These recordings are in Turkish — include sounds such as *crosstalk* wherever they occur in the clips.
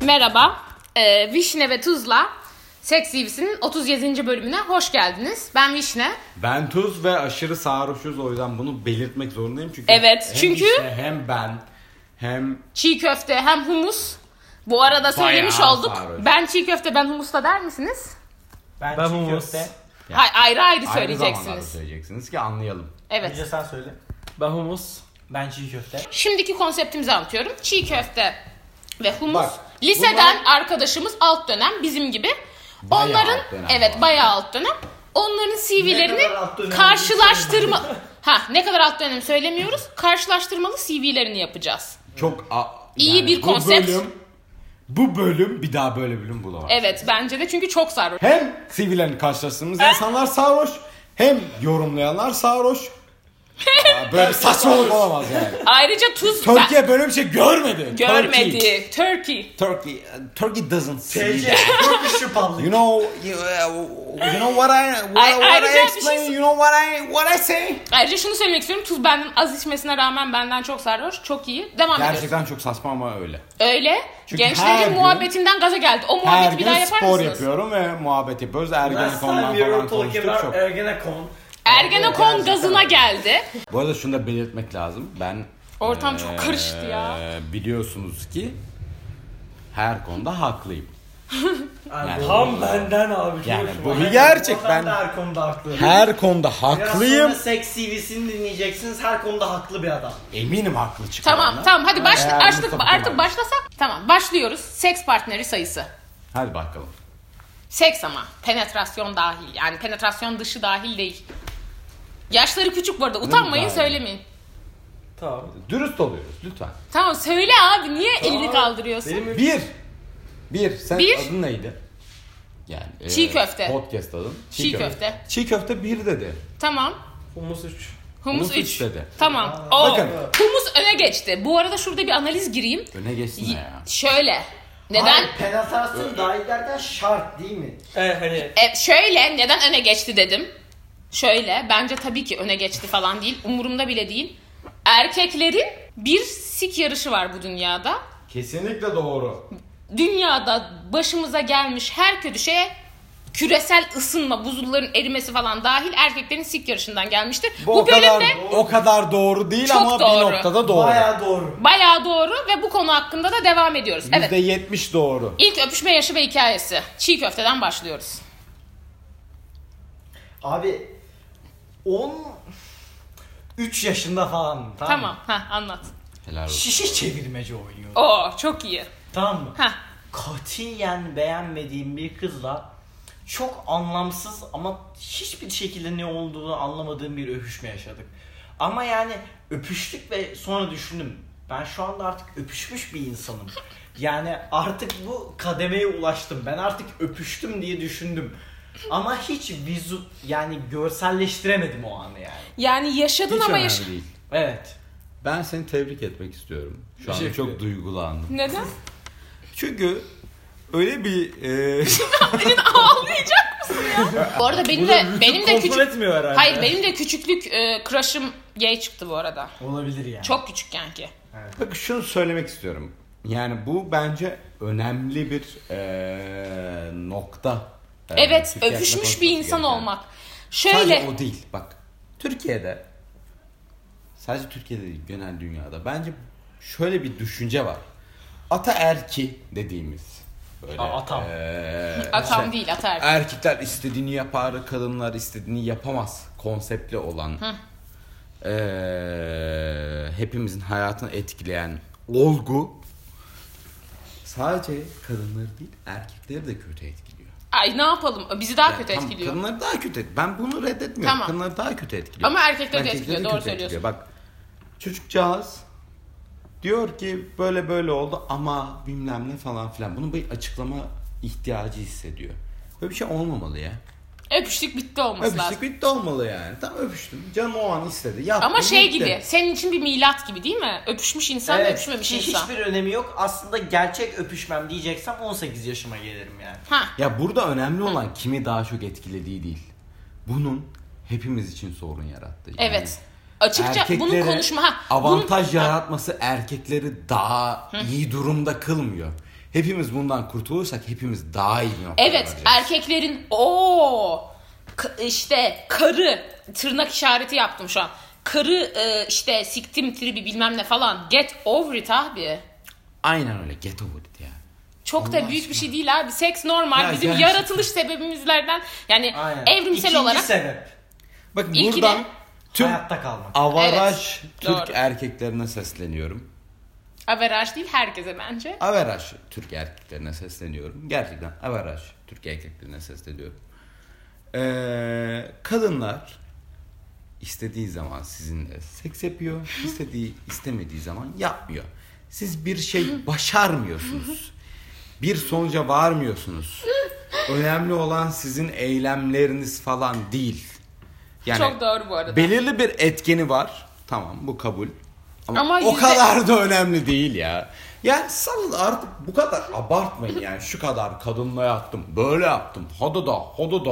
merhaba. Ee, Vişne ve Tuz'la Seks CV'sinin 37. bölümüne hoş geldiniz. Ben Vişne. Ben tuz ve aşırı sarhoşuz o yüzden bunu belirtmek zorundayım çünkü. Evet, hem çünkü- işte hem ben hem Çiğ köfte hem humus. Bu arada söylemiş Bayağı olduk. sarhoş. Ben çiğ köfte ben humusla der misiniz? Ben, Ben çiğ humus. köfte. Ya. Hayır ayrı ayrı ayrı zamanlarda söyleyeceksiniz. söyleyeceksiniz ki anlayalım. Evet. Önce sen söyle. Ben humus. Ben çiğ köfte. Şimdiki konseptimizi anlatıyorum. Çiğ köfte ve humus. Bak, Liseden bunlar- arkadaşımız alt dönem bizim gibi. Bayağı Onların alt dönem evet bu arada. bayağı alt dönem. Onların Ne CV'lerini kadar alt dönem karşılaştırma *laughs* ha ne kadar alt dönem söylemiyoruz. Karşılaştırmalı CV'lerini yapacağız. Çok a- İyi bir bu konsept. Bölüm, bu bölüm bir daha böyle bölüm bulamaz. Evet bence de çünkü çok sarhoş. Hem sivillerin karşılaştığımız insanlar sarhoş hem *laughs* yorumlayanlar sarhoş. Aa, böyle bir saçmalık olamaz yani. Ayrıca tuz ben- Türkiye böyle bir şey görmedi. Turkey. görmedi. Turkey. Turkey, Turkey doesn't see TC. that. Turkish Republic. You know, you, uh, you know what I, what, Ay- I- what ayrıca I bir şey explain, sor- you know what I, what I say. Ayrıca şunu söylemek istiyorum. Tuz benden az içmesine rağmen benden çok sarhoş. Çok iyi. Devam ediyoruz. Gerçekten çok saçma ama öyle. Öyle. Çünkü her Gençlerin gün- muhabbetinden gaza geldi. O Her muhabbeti bir gün daha yapar spor mısınız? yapıyorum ve muhabbet yapıyoruz. Last Ergenekon'dan time falan we were talking konuştuk çok. about uh, Ergenekon. Ergenekon Gerçekten. gazına geldi. Bu arada şunu da belirtmek lazım. Ben Ortam eee, çok karıştı ya. Biliyorsunuz ki her konuda haklıyım. Yani- Tam benden abi. Yani çok bu hoşuma bir geldi. gerçek, Adam ben- da her konuda haklı. Her konuda Biraz haklıyım. sonra seks CV'sini dinleyeceksiniz. Her konuda haklı bir adam. Eminim haklı çıkacağım. Tamam tamam hadi başla Eğer artık Mustafa artık Kemal- başlasak. Tamam başlıyoruz. Seks partneri sayısı. Hadi bakalım. Seks ama penetrasyon dahil. Yani penetrasyon dışı dahil değil. Yaşları küçük bu arada. Utanmayın dahil? söylemeyin. Tamam. Dürüst oluyoruz lütfen. Tamam söyle abi niye elini kaldırıyorsun? Bir. Bir. Sen Bir. adın neydi? Yani e, Çiğ köfte. Podcast adın. Çiğ köfte. Çiğ köfte bir dedi. Tamam. Humus 3. Humus Humus üç 3. dedi. Tamam. Oo. Bakın. Humus öne geçti. Bu arada şurada bir analiz gireyim. Öne geçsin ya. Şöyle. Neden? penetrasyon dahillerden şart değil mi? Ee hani E, şöyle neden öne geçti dedim. Şöyle bence tabii ki öne geçti falan değil. Umurumda bile değil. Erkeklerin bir sik yarışı var bu dünyada. Kesinlikle doğru. Dünyada başımıza gelmiş her kötü şeye küresel ısınma, buzulların erimesi falan dahil erkeklerin sik yarışından gelmiştir. Bu, Bu, o bölümde kadar o kadar doğru değil Çok ama doğru. bir noktada doğru. bayağı doğru. bayağı doğru ve bu konu hakkında da devam ediyoruz. Evet. Yüzde yetmiş doğru. İlk öpüşme yaşı ve hikayesi. Çiğ köfteden başlıyoruz. Abi 10 3 yaşında falan mı? Tamam. Tamam. Heh, anlat. Helal olsun. şişe çevirmeci oynuyor. Oo çok iyi. Tamam mı? Heh. Katiyen beğenmediğim bir kızla çok anlamsız ama hiçbir şekilde ne olduğunu anlamadığım bir öpüşme yaşadık. Ama yani öpüştük ve sonra düşündüm. Ben şu anda artık öpüşmüş bir insanım. Yani artık bu kademeye ulaştım. Ben artık öpüştüm diye düşündüm. Ama hiç vizu yani görselleştiremedim o anı yani. Yani yaşadın Hiç ama önemli yaş... değil. Evet. Ben seni tebrik etmek istiyorum. Şu anda Teşekkür çok duygulandım. Neden? Çünkü öyle bir e, Ağlayacak mısın ya? Bu arada benim de benim de küçük etmiyor herhalde. Hayır benim de küçüklük e, crush'ım gay çıktı bu arada. Olabilir yani. Çok küçükken ki. Bakın şunu söylemek istiyorum. Yani bu bence önemli bir eee, nokta. Eee, Evet, Türkiye hakkında övüşmüş konuşması bir insan gereken. olmak. Sadece Şöyle o değil. Bak Türkiye'de sadece Türkiye'de değil genel dünyada bence şöyle bir düşünce var. Ataerki dediğimiz böyle A- atam. eee, atam işte- değil atar. Erkekler istediğini yapar, kadınlar istediğini yapamaz konseptli olan eee, hepimizin hayatını etkileyen olgu sadece kadınları değil erkekleri de kötü etkiliyor. Ay ne yapalım? Bizi daha Yani kötü tam etkiliyor. Kadınları daha kötü et- Ben bunu reddetmiyorum. Tamam. Kadınları daha kötü etkiliyor. Ama erkekleri de etkiliyor, doğru kötü söylüyorsun. Bak çocukcağız diyor ki böyle böyle oldu ama bilmem ne falan filan. Bunun bir açıklama ihtiyacı hissediyor. Böyle bir şey olmamalı ya. Öpüştük bitti olması lazım. Öpüştük bitti olmalı yani. Tam öpüştüm. Canım o an istedi. Yaptım, Ama şey bitti. gibi senin için bir milat gibi değil mi? Öpüşmüş insan Evet, öpüşmemiş hiç- insan. Hiçbir önemi yok. Aslında gerçek öpüşmem diyeceksem 18 yaşıma gelirim yani. Ha. Ya burada önemli olan kimi daha çok etkilediği değil. Bunun hepimiz için sorun yarattı. Yani Evet. Açıkça bunun erkeklere konuşma ha. bunun- Avantaj yaratması erkekleri daha iyi durumda kılmıyor. Hepimiz bundan kurtulursak hepimiz daha iyi bir noktaya Evet er- varacağız. erkeklerin o işte karı tırnak işareti yaptım şu an. Karı e, işte siktim tribi bilmem ne falan. Get over it abi. Aynen öyle. Get over it ya. Çok da büyük bir şey değil abi. Seks normal. Ya Bizim gerçekten. yaratılış sebebimizlerden yani Aynen. evrimsel İkinci olarak sebep. Bak İlki buradan de- tüm Hayatta kalmak. avaraj Evet, Türk doğru. erkeklerine sesleniyorum. averaj değil herkese bence. Averaj Türk erkeklerine sesleniyorum. Gerçekten averaj Türk erkeklerine sesleniyorum. Ee, kadınlar istediği zaman sizinle seks yapıyor. istediği istemediği zaman yapmıyor. Siz bir şey başarmıyorsunuz. Bir sonuca varmıyorsunuz. Önemli olan sizin eylemleriniz falan değil. Yani Çok doğru bu arada. Belirli bir etkeni var. Tamam bu kabul. Ama, Ama o yüzde- kadar da önemli değil ya. Yani salın artık bu kadar abartmayın yani. Şu kadar kadınla yattım. Böyle yaptım. Hodu da, hodu da,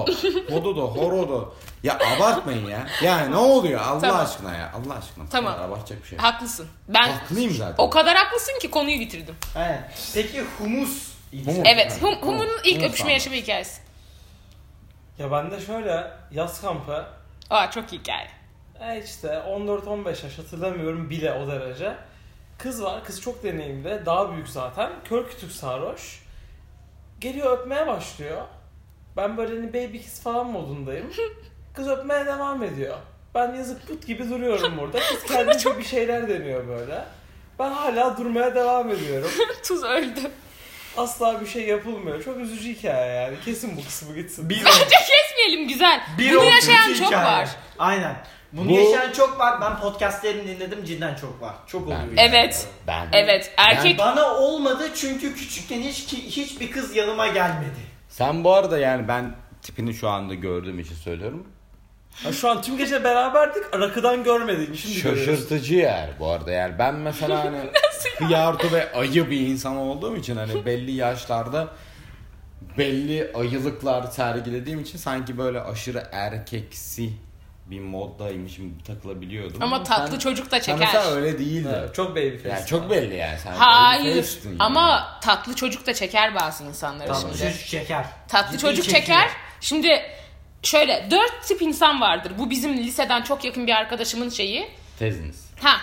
hodu da, horodu. Ya abartmayın ya. Yani ne oluyor Allah Tamam. aşkına ya. Allah aşkına. Bu Tamam. kadar Abartacak bir şey. yok. Haklısın. Ben Haklıyım zaten. o kadar haklısın ki konuyu bitirdim. Aynen. Peki humus. Humus. Evet. Evet, Hum, tamam. Hum'un ilk Tamam, öpüşme tamam. yaşama hikayesi. Ya ben de şöyle yaz kampı Aa çok iyi hikaye. *laughs* e işte 14-15 yaş hatırlamıyorum bile o derece. Kız var kız çok deneyimli daha büyük zaten kör kütük sarhoş. Geliyor öpmeye başlıyor. Ben böyle hani baby kiss falan modundayım. Kız öpmeye devam ediyor. Ben yazık put gibi duruyorum burada. Kız kendince bir şeyler deniyor böyle. Ben hala durmaya devam ediyorum. Tuz öldü. Asla bir şey yapılmıyor. Çok üzücü hikaye yani. Kesin bu kısmı gitsin. Bir Bence kesmeyelim güzel. Bir Bunu o yaşayan kötü çok hikaye. var. Aynen. Bunu Bu- yaşayan çok var. Ben podcastlerini dinledim cidden çok var. Çok oluyor. Ben- yani. Evet. Ben Evet. Erkek Bana olmadı çünkü küçükken hiç ki- hiçbir kız yanıma gelmedi. Sen bu arada yani ben tipini şu anda gördüğüm için söylüyorum. Ha, şu an tüm gece beraberdik. Rakıdan görmedik. Şimdi görüyoruz. Şaşırtıcı yer bu arada yani *laughs* ben mesela hani hıyartı ve ayı bir insan olduğum için hani belli yaşlarda belli ayılıklar sergilediğim için sanki böyle aşırı erkeksi bir moddaymışım gibi takılabiliyordum. ama tatlı sen- çocuk da Sen çeker. mesela öyle değildi. Evet, Çok baby face. yani çok belli yani sen. Hayır. öyleymiştin yani. Ama tatlı çocuk da çeker bazı insanları Tamam. şimdi. Çocuk çeker. Tatlı Ciddi çocuk çekiyor. çeker. Şimdi şöyle dört tip insan vardır. Bu bizim liseden çok yakın bir arkadaşımın şeyi. teziniz. Ha.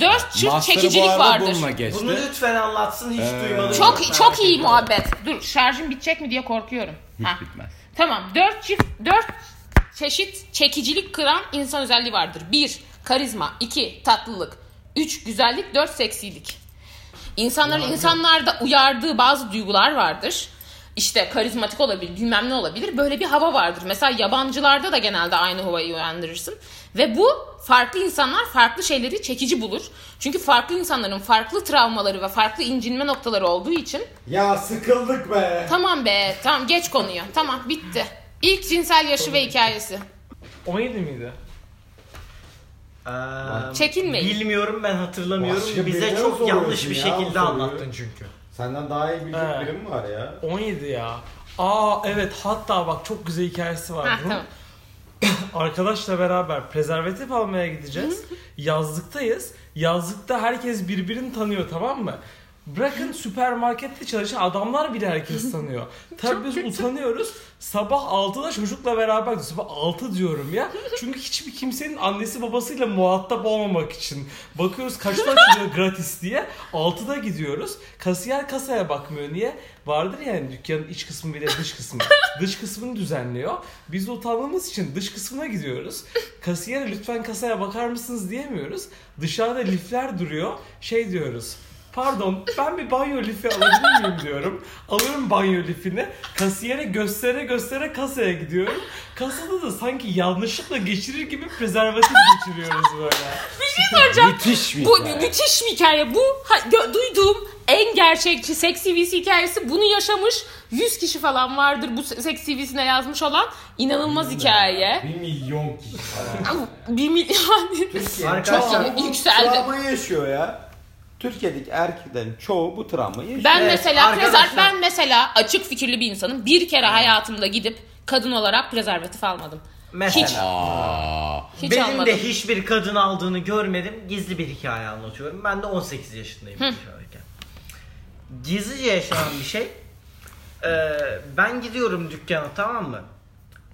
Dört tür Master'ı bu çekicilik arada vardır. bununla geçti. Bunu lütfen anlatsın hiç Ee, duymadım. Çok çok iyi muhabbet. Dur şarjım bitecek mi diye korkuyorum. Hiç Ha. bitmez. Tamam. Dört çift, dört çeşit çekicilik kıran insan özelliği vardır. Bir, karizma. iki tatlılık. Üç, güzellik. Dört, seksilik. İnsanların insanlarda uyardığı bazı duygular vardır. İşte karizmatik olabilir, bilmem ne olabilir. Böyle bir hava vardır. Mesela yabancılarda da genelde aynı havayı uyandırırsın. Ve bu farklı insanlar farklı şeyleri çekici bulur. Çünkü farklı insanların farklı travmaları ve farklı incinme noktaları olduğu için Ya sıkıldık be. Tamam be. Tamam geç konuyu. Tamam bitti. İlk cinsel yaşı ve hikayesi. 17 miydi? Ee, Çekinmeyin. Bilmiyorum ben hatırlamıyorum. Başka Bize birine çok soruyorsun yanlış bir ya, şekilde soruyu. anlattın çünkü. Senden daha iyi bilecek He. birim var ya. 17 ya. Aa evet hatta bak çok güzel hikayesi var Ha, bunun. tamam. Arkadaşla beraber prezervatif almaya gideceğiz. Yazlıktayız. Yazlıkta herkes birbirini tanıyor tamam mı? Bırakın süpermarkette çalışan adamlar bile herkes tanıyor. Tabii biz utanıyoruz. Sabah 6'da çocukla beraber sabah 6 diyorum ya. Çünkü hiçbir kimsenin annesi babasıyla muhatap olmamak için. Bakıyoruz *laughs* kaçta açılıyor gratis diye. 6'da gidiyoruz. Kasiyer kasaya bakmıyor. Niye? Vardır yani dükkanın iç kısmı bile dış kısmı. dış kısmını düzenliyor. Biz de utandığımız için dış kısmına gidiyoruz. Kasiyere lütfen kasaya bakar mısınız diyemiyoruz. Dışarıda lifler duruyor. Şey diyoruz. Pardon ben bir banyo lifi alabilir miyim diyorum. Alıyorum banyo lifini. Kasiyere göstere göstere kasaya gidiyorum. Kasada da sanki yanlışlıkla geçirir gibi prezervatif geçiriyoruz böyle. Müthiş bir şey Bu hikaye. müthiş bir hikaye. Bu ha, gö- duyduğum en gerçekçi seks CV'si hikayesi. Bunu yaşamış 100 kişi falan vardır bu se- seks CV'sine yazmış olan. inanılmaz hikaye. Bir milyon kişi falan. Bir milyon. Arkadaşlar *laughs* Çok yükseldi. Travmayı yaşıyor ya. Türkiye'deki erkeklerin çoğu bu travmayı yaşıyor. Ben Evet, mesela arkadaşlar. prezerv- ben mesela açık fikirli bir insanım. Bir kere hayatımda gidip kadın olarak prezervatif almadım. mesela. Hiç. Aa. Hiç Benim almadım. de hiçbir kadın aldığını görmedim. Gizli bir hikaye anlatıyorum. Ben de 18 yaşındayım yaşarken. gizlice yaşanan bir şey. Ee, ben gidiyorum dükkana tamam mı?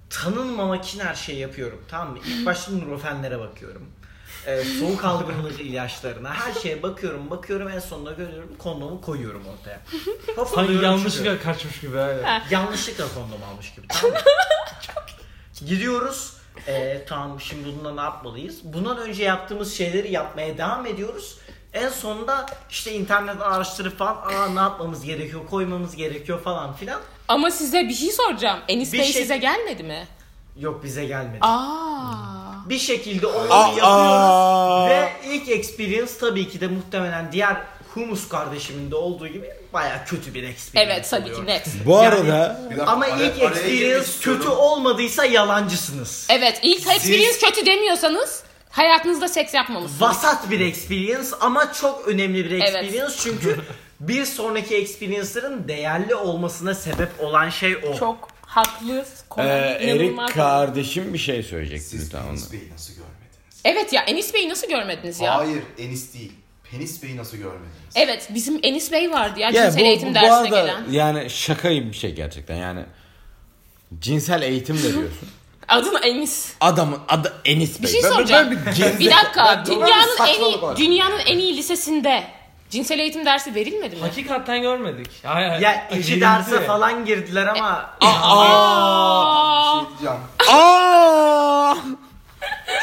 Tanınmamak için her şeyi yapıyorum tamam mı? İlk başta nurofenlere bakıyorum. Ee, soğuk algınlık ilaçlarına her şeye bakıyorum bakıyorum en sonunda görüyorum kondomu koyuyorum ortaya. Hop Sanki alıyorum, çıkıyorum. yanlışlıkla kaçmış gibi. aynen. Yanlışlıkla kondom almış gibi. *laughs* Tamam mı? Gidiyoruz. Ee, tamam şimdi bununla ne yapmalıyız? Bundan önce yaptığımız şeyleri yapmaya devam ediyoruz. En sonunda işte internetten araştırıp falan aa ne yapmamız gerekiyor, koymamız gerekiyor falan filan. Ama size bir şey soracağım. Enis Bir Bey şey- size gelmedi mi? Yok bize gelmedi. Aa. Bir şekilde onları Aa! yapıyoruz. Ve ilk experience tabii ki de muhtemelen diğer Humus kardeşimin de olduğu gibi baya kötü bir experience Evet tabii oluyor. ki net. Bu Yani- arada Bir dakika, Ama araya- ilk araya girmek experience istiyorum. kötü olmadıysa yalancısınız. Evet ilk experience kötü demiyorsanız hayatınızda seks yapmamışsınız. vasat bir experience ama çok önemli bir Evet. experience *laughs* çünkü bir sonraki experience'ların değerli olmasına sebep olan şey o. Çok haklı. konu e, inanılmaz. Erik kardeşim bir şey söyleyecekti Siz lütfen penis ona. beyi nasıl görmediniz? Evet ya Enis Bey'i nasıl görmediniz ya? Hayır enis değil. Penis beyi nasıl görmediniz? Evet bizim Enis Bey vardı ya Ya cinsel eğitim dersine gelen. yani şaka gibi bir şey gerçekten yani cinsel eğitim de diyorsun. Adını Enis. Adamın adı Enis Bey. Bir şey Ben- ben- soracağım. ben bir geri- Bir dakika. Ben- ben- Dünyanın en saçmalık iyi, var. dünyanın en iyi lisesinde cinsel eğitim dersi verilmedi mi? Hakikaten görmedik. Hayır, hayır. Ya iki Verildi. derse falan girdiler ama E, Aa! Bir şey diyeceğim. *laughs* Aa!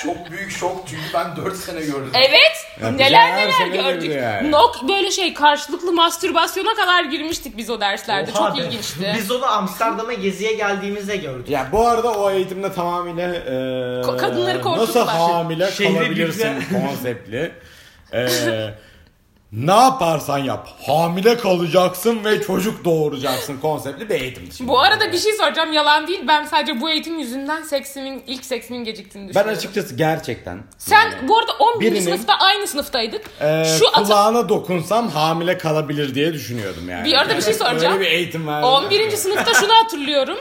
Çok büyük şok çünkü ben 4 sene gördüm. Evet. Yapacağız. neler Her neler sene gördük. görüyor yani. Nok böyle şey karşılıklı mastürbasyona kadar girmiştik biz o derslerde. Oha Çok be. ilginçti. Biz onu Amsterdam'a geziye geldiğimizde gördük. Ya bu arada o eğitimde tamamıyla e, Ko- kadınları nasıl korkuttular. hamile Şehre kalabilirsin büyükler. konseptli. E, ne yaparsan yap hamile kalacaksın ve çocuk doğuracaksın konseptli bir eğitim. Şimdi Bu arada bir şey soracağım yalan değil. Ben sadece bu eğitim yüzünden seksimin ilk seksimin geciktiğini ben düşünüyorum. açıkçası gerçekten Sen bu arada 11. Birinin- sınıfta aynı sınıftaydık. e, Şu atı... kulağına dokunsam hamile kalabilir diye düşünüyordum yani. Bir arada bir şey soracağım. Öyle bir eğitim verdi. 11. sınıfta şunu hatırlıyorum.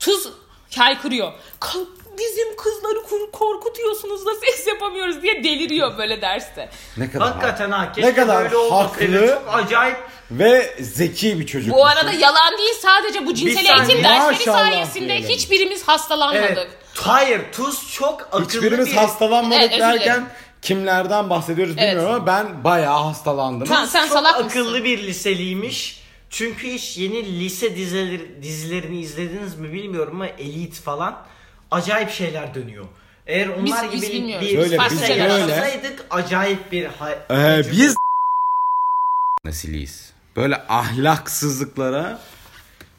Tuz haykırıyor. "Kalk, Bizim kızları kur- korkutuyorsunuz da seks yapamıyoruz diye deliriyor böyle derste. Ne kadar Hakikaten ha keşke ne kadar böyle olmasaydı. haklı. Çok acayip ve zeki bir çocuk. Bu arada yalan değil sadece bu cinsel Bir saniye. eğitim dersleri Maşallah sayesinde diyelim. hiçbirimiz hastalanmadık. evet. Hayır Tuz çok akıllı Hiçbirimiz bir... hastalanmadık Evet, özür dilerim. derken kimlerden bahsediyoruz bilmiyorum Evet. ama ben bayağı hastalandım. Tamam sen çok salak akıllı mısın? bir liseliymiş. Çünkü hiç yeni lise dizileri, dizilerini izlediniz mi bilmiyorum ama Elite falan acayip şeyler dönüyor. Eğer onlar biz gibi bilmiyoruz. bir Şöyle, biz şeyler şöyle- alsaydık acayip bir hay- Ee, biz nesiliyiz. Böyle ahlaksızlıklara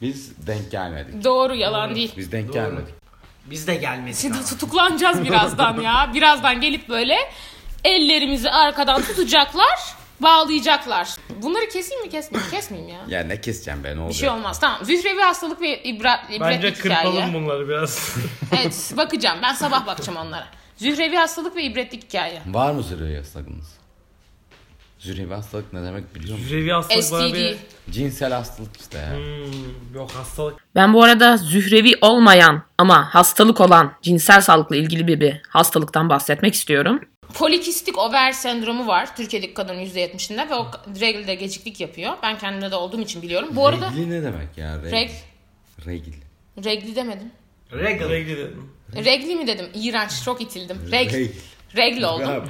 biz denk gelmedik. Doğru yalan değil. Biz denk gelmedik. biz de gelmedik. Şimdi tutuklanacağız birazdan ya. Birazdan gelip böyle ellerimizi arkadan tutacaklar, bağlayacaklar. Bunları keseyim mi kesmeyeyim? mi? Kesmeyeyim ya. Ya ne keseceğim ben ne olacak? Bir şey olmaz. Tamam. Zührevi hastalık ve ibra, Bence ibretlik hikaye. kırpalım bunları *laughs* biraz. Evet bakacağım. Ben sabah bakacağım onlara. Zührevi hastalık ve ibretlik hikaye. Var mı zürevi hastalığınız? Zürevi hastalık ne demek biliyor musun? Zürevi hastalık bana STD. bir... Cinsel hastalık işte ya. Hmm, yok hastalık. Ben bu arada zührevi olmayan ama hastalık olan cinsel sağlıkla ilgili bir, bir hastalıktan bahsetmek istiyorum. Polikistik over sendromu var. Türkiye'deki kadının %70'inde ve o regl de geciklik yapıyor. Ben kendimde de olduğum için biliyorum. Bu arada Regli ne demek ya? Regl. Reg- Regl. regli demedim. Regal. Regli dedim. Regli mi dedim? İğrenç. Çok itildim. Regl. Regl. Regl oldum. Ya,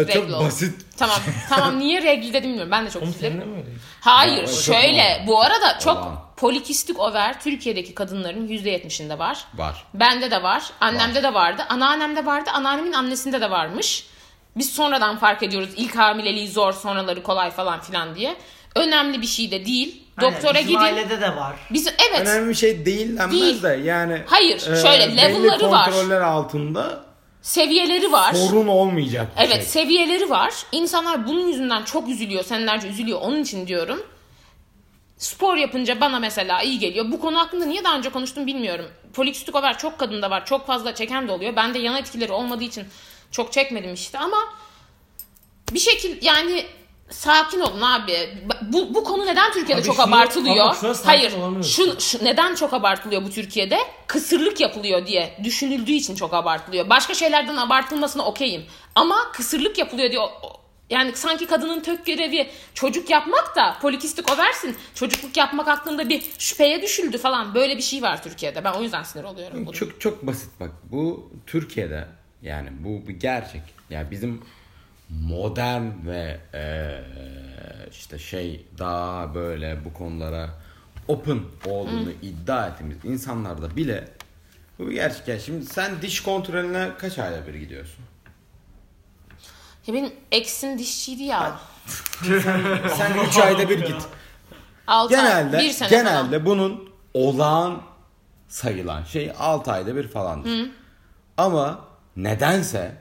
*laughs* ya çok Regl oldum. basit. Tamam. Tamam niye regl dedim bilmiyorum. Ben de çok Oğlum senin de itildim. mi öyleydi? Hayır Ya, çok şöyle normal. bu arada çok Olan. polikistik over Türkiye'deki kadınların %70'inde var. Var. Bende de var. Annemde de vardı. Anneannemde vardı. Anneannemin annesinde de varmış. Biz sonradan fark ediyoruz. İlk hamileliği zor, sonraları kolay falan filan diye. Önemli bir şey de değil. Aynen, Doktora bizim gidin. ailede de var. Biz evet. Önemli bir şey değil Değil. denmez de yani. e, Hayır, şöyle belli level'ları var. kontroller altında Seviyeleri var. sorun olmayacak bir Evet, şey. seviyeleri var. İnsanlar bunun yüzünden çok üzülüyor. Senelerce üzülüyor. Onun için diyorum. Spor yapınca bana mesela iyi geliyor. Bu konu hakkında niye daha önce konuştum bilmiyorum. Polikistik over çok kadında var. Çok fazla çeken de oluyor. Ben de yan etkileri olmadığı için çok çekmedim işte ama bir şekil yani sakin olun abi. Bu, bu konu neden Türkiye'de Abi çok şuna- abartılıyor? ama şuna sakin Hayır. olamıyoruz. Şu, şu neden çok abartılıyor bu Türkiye'de? Kısırlık yapılıyor diye düşünüldüğü için çok abartılıyor. Başka şeylerden abartılmasına okeyim. Ama kısırlık yapılıyor diye o- o- Yani sanki kadının tök görevi çocuk yapmak da polikistik oversin. Çocukluk yapmak hakkında bir şüpheye düşüldü falan. Böyle bir şey var Türkiye'de. Ben o yüzden sinir oluyorum. buna. Çok çok basit bak. Bu Türkiye'de yani bu bir gerçek. Yani bizim modern ve eee, işte şey daha böyle bu konulara open olduğunu iddia ettiğimiz insanlarda bile bu bir gerçek. Yani şimdi sen diş kontrolüne kaç ayda bir gidiyorsun? Ya benim eksim dişçiydi ya. Sen 3 ayda bir git. Altı ay, Genelde bir sene falan. genelde bunun olağan sayılan şey 6 ayda bir falandır. Ama nedense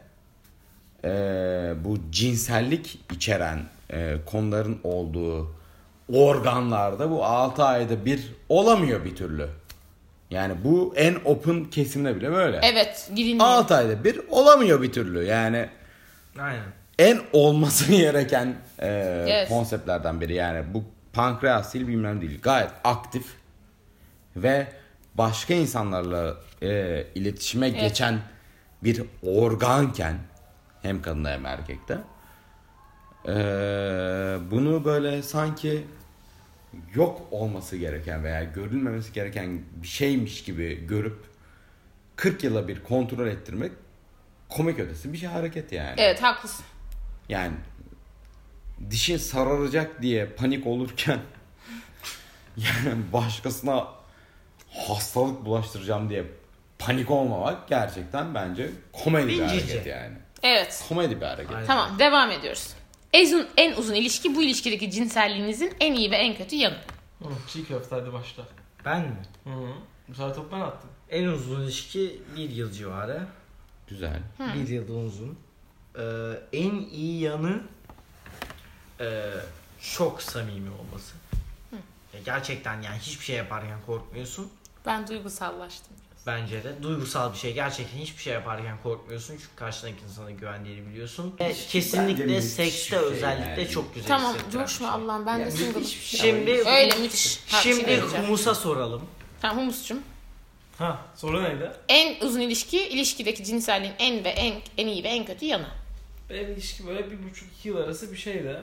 eee, bu cinsellik içeren eee, konuların olduğu organlarda bu 6 ayda bir olamıyor bir türlü. Yani bu en open kesimde bile böyle. Evet girilmiyor. 6 ayda bir olamıyor bir türlü. Yani Aynen. en olması *laughs* gereken e, Yes. konseptlerden biri. Yani bu pankreas değil bilmem değil. Gayet aktif ve başka insanlarla e, iletişime geçen bir organken hem kadında hem erkekte e, bunu böyle sanki yok olması gereken veya görülmemesi gereken bir şeymiş gibi görüp 40 yıla bir kontrol ettirmek komik ötesi bir şey hareket yani. Evet haklısın. Yani dişin sararacak diye panik olurken *laughs* yani başkasına hastalık bulaştıracağım diye panik olmamak gerçekten bence komedi bir hareket yani. Evet. Komedi bir hareket. Tamam devam ediyoruz. En uzun, en uzun ilişki bu ilişkideki cinselliğinizin en iyi ve en kötü yanı. Hı, çiğ köfte hadi başla. Ben mi? Hı -hı. Bu sefer top ben attım. En uzun ilişki bir yıl civarı. Güzel. Bir yıldan uzun. Ee, en iyi yanı ee, çok samimi olması. Ya Gerçekten yani hiçbir şey yaparken korkmuyorsun. Ben duygusallaştım. Bence de duygusal bir şey. Gerçekten hiçbir şey yaparken korkmuyorsun. Çünkü karşındaki insana güvendiğini biliyorsun. Ve kesinlikle müthiş sekste bir şey özellikle yani. çok güzel Tamam hissettiren bir şey. coşma Allah'ım ben de single'ım. Şimdi Öyle müthiş. Ha, şey şimdi söyleyeceğim. humusa soralım. Tamam humusçum. Ha soru neydi? En uzun ilişki ilişkideki cinselliğin en ve en en iyi ve en kötü yanı. Benim ilişki böyle bir buçuk iki yıl arası bir şeydi.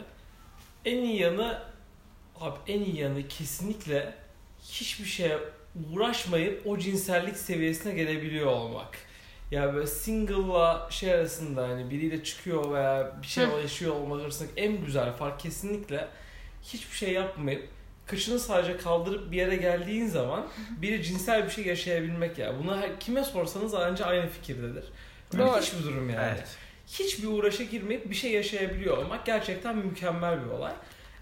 En iyi yanı abi en iyi yanı kesinlikle hiçbir şeye uğraşmayıp o cinsellik seviyesine gelebiliyor olmak. Ya böyle single'la şey arasında hani biriyle çıkıyor veya bir şey yaşıyor olmak arasındaki en güzel fark kesinlikle hiçbir şey yapmayıp kışını sadece kaldırıp bir yere geldiğin zaman biri cinsel bir şey yaşayabilmek ya. Bunu her- kime sorsanız anca aynı fikirdedir. Doğru. Müthiş bir durum yani Evet. hiçbir uğraşa girmeyip bir şey yaşayabiliyor olmak gerçekten mükemmel bir olay.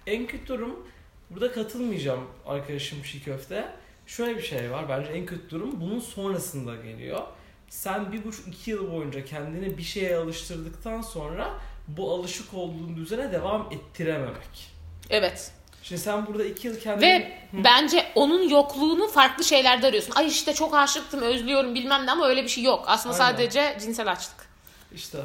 En kötü durum burada katılmayacağım arkadaşım Şiköfte. Köfte. Şöyle bir şey var bence en kötü durum bunun sonrasında geliyor. Sen bir buçuk iki yıl boyunca kendini bir şeye alıştırdıktan sonra bu alışık olduğun düzene devam ettirememek. Evet. Şimdi sen burada iki yıl kendini... Ve bence onun yokluğunu farklı şeylerde arıyorsun. Ay işte çok aşıktım, özlüyorum bilmem ne ama öyle bir şey yok. Aslında Aynen. sadece cinsel açlık. işte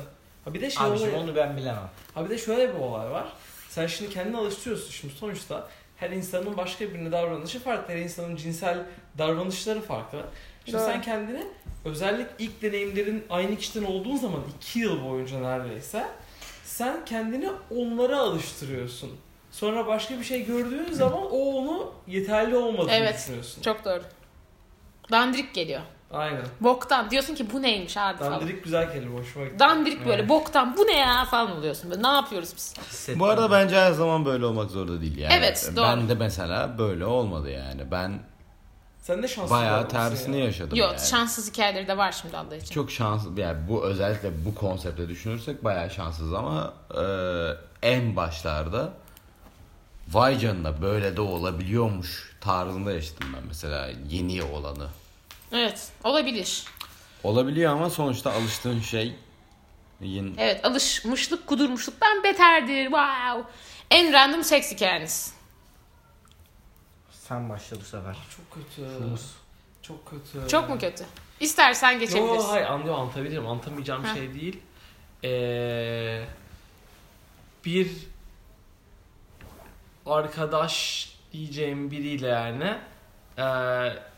ha bir de şey Abiciğim oluyor. onu ben bilemem. Ha bir de şöyle bir olay var. Sen şimdi kendini alıştırıyorsun şimdi sonuçta her insanın başka birine davranışı farklı. Her insanın cinsel davranışları farklı. Şimdi Doğru. sen kendini özellikle ilk deneyimlerin aynı kişiden olduğun zaman 2 yıl boyunca neredeyse sen kendini onlara alıştırıyorsun. Sonra başka bir şey gördüğün zaman o onu yeterli olmadığını Evet. düşünüyorsun. Çok doğru. Dandirik geliyor. Aynen. Boktan. Diyorsun ki bu neymiş abi falan. Dandirik, Dandirik güzel kelime hoşuma gitti. böyle boktan bu ne ya falan oluyorsun. Böyle, ne yapıyoruz biz? Bu arada bence her zaman böyle olmak zorunda değil yani. Evet, doğru. Ben de mesela böyle olmadı yani. Ben Sen de şanslı bayağı bir adamsın tersini ya. yaşadım Yok yani. şanssız hikayeleri de var şimdi Allah için. Çok şanslı yani bu özellikle bu konsepte düşünürsek bayağı şanssız ama e, en başlarda vay canına böyle de olabiliyormuş tarzında yaşadım ben mesela yeni olanı. Evet olabilir. Olabiliyor ama sonuçta alıştığın şey yin E, Evet alışmışlık kudurmuşluktan beterdir. Wow. En random seks hikayeniz. Sen başla bu sefer. Çok kötü. Çok kötü. Çok mu kötü? İstersen geçebilirsin. Yo hayır anlıyorum anlatabilirim. Anlatamayacağım Ha. şey değil. Ee, bir arkadaş diyeceğim biriyle yani ee,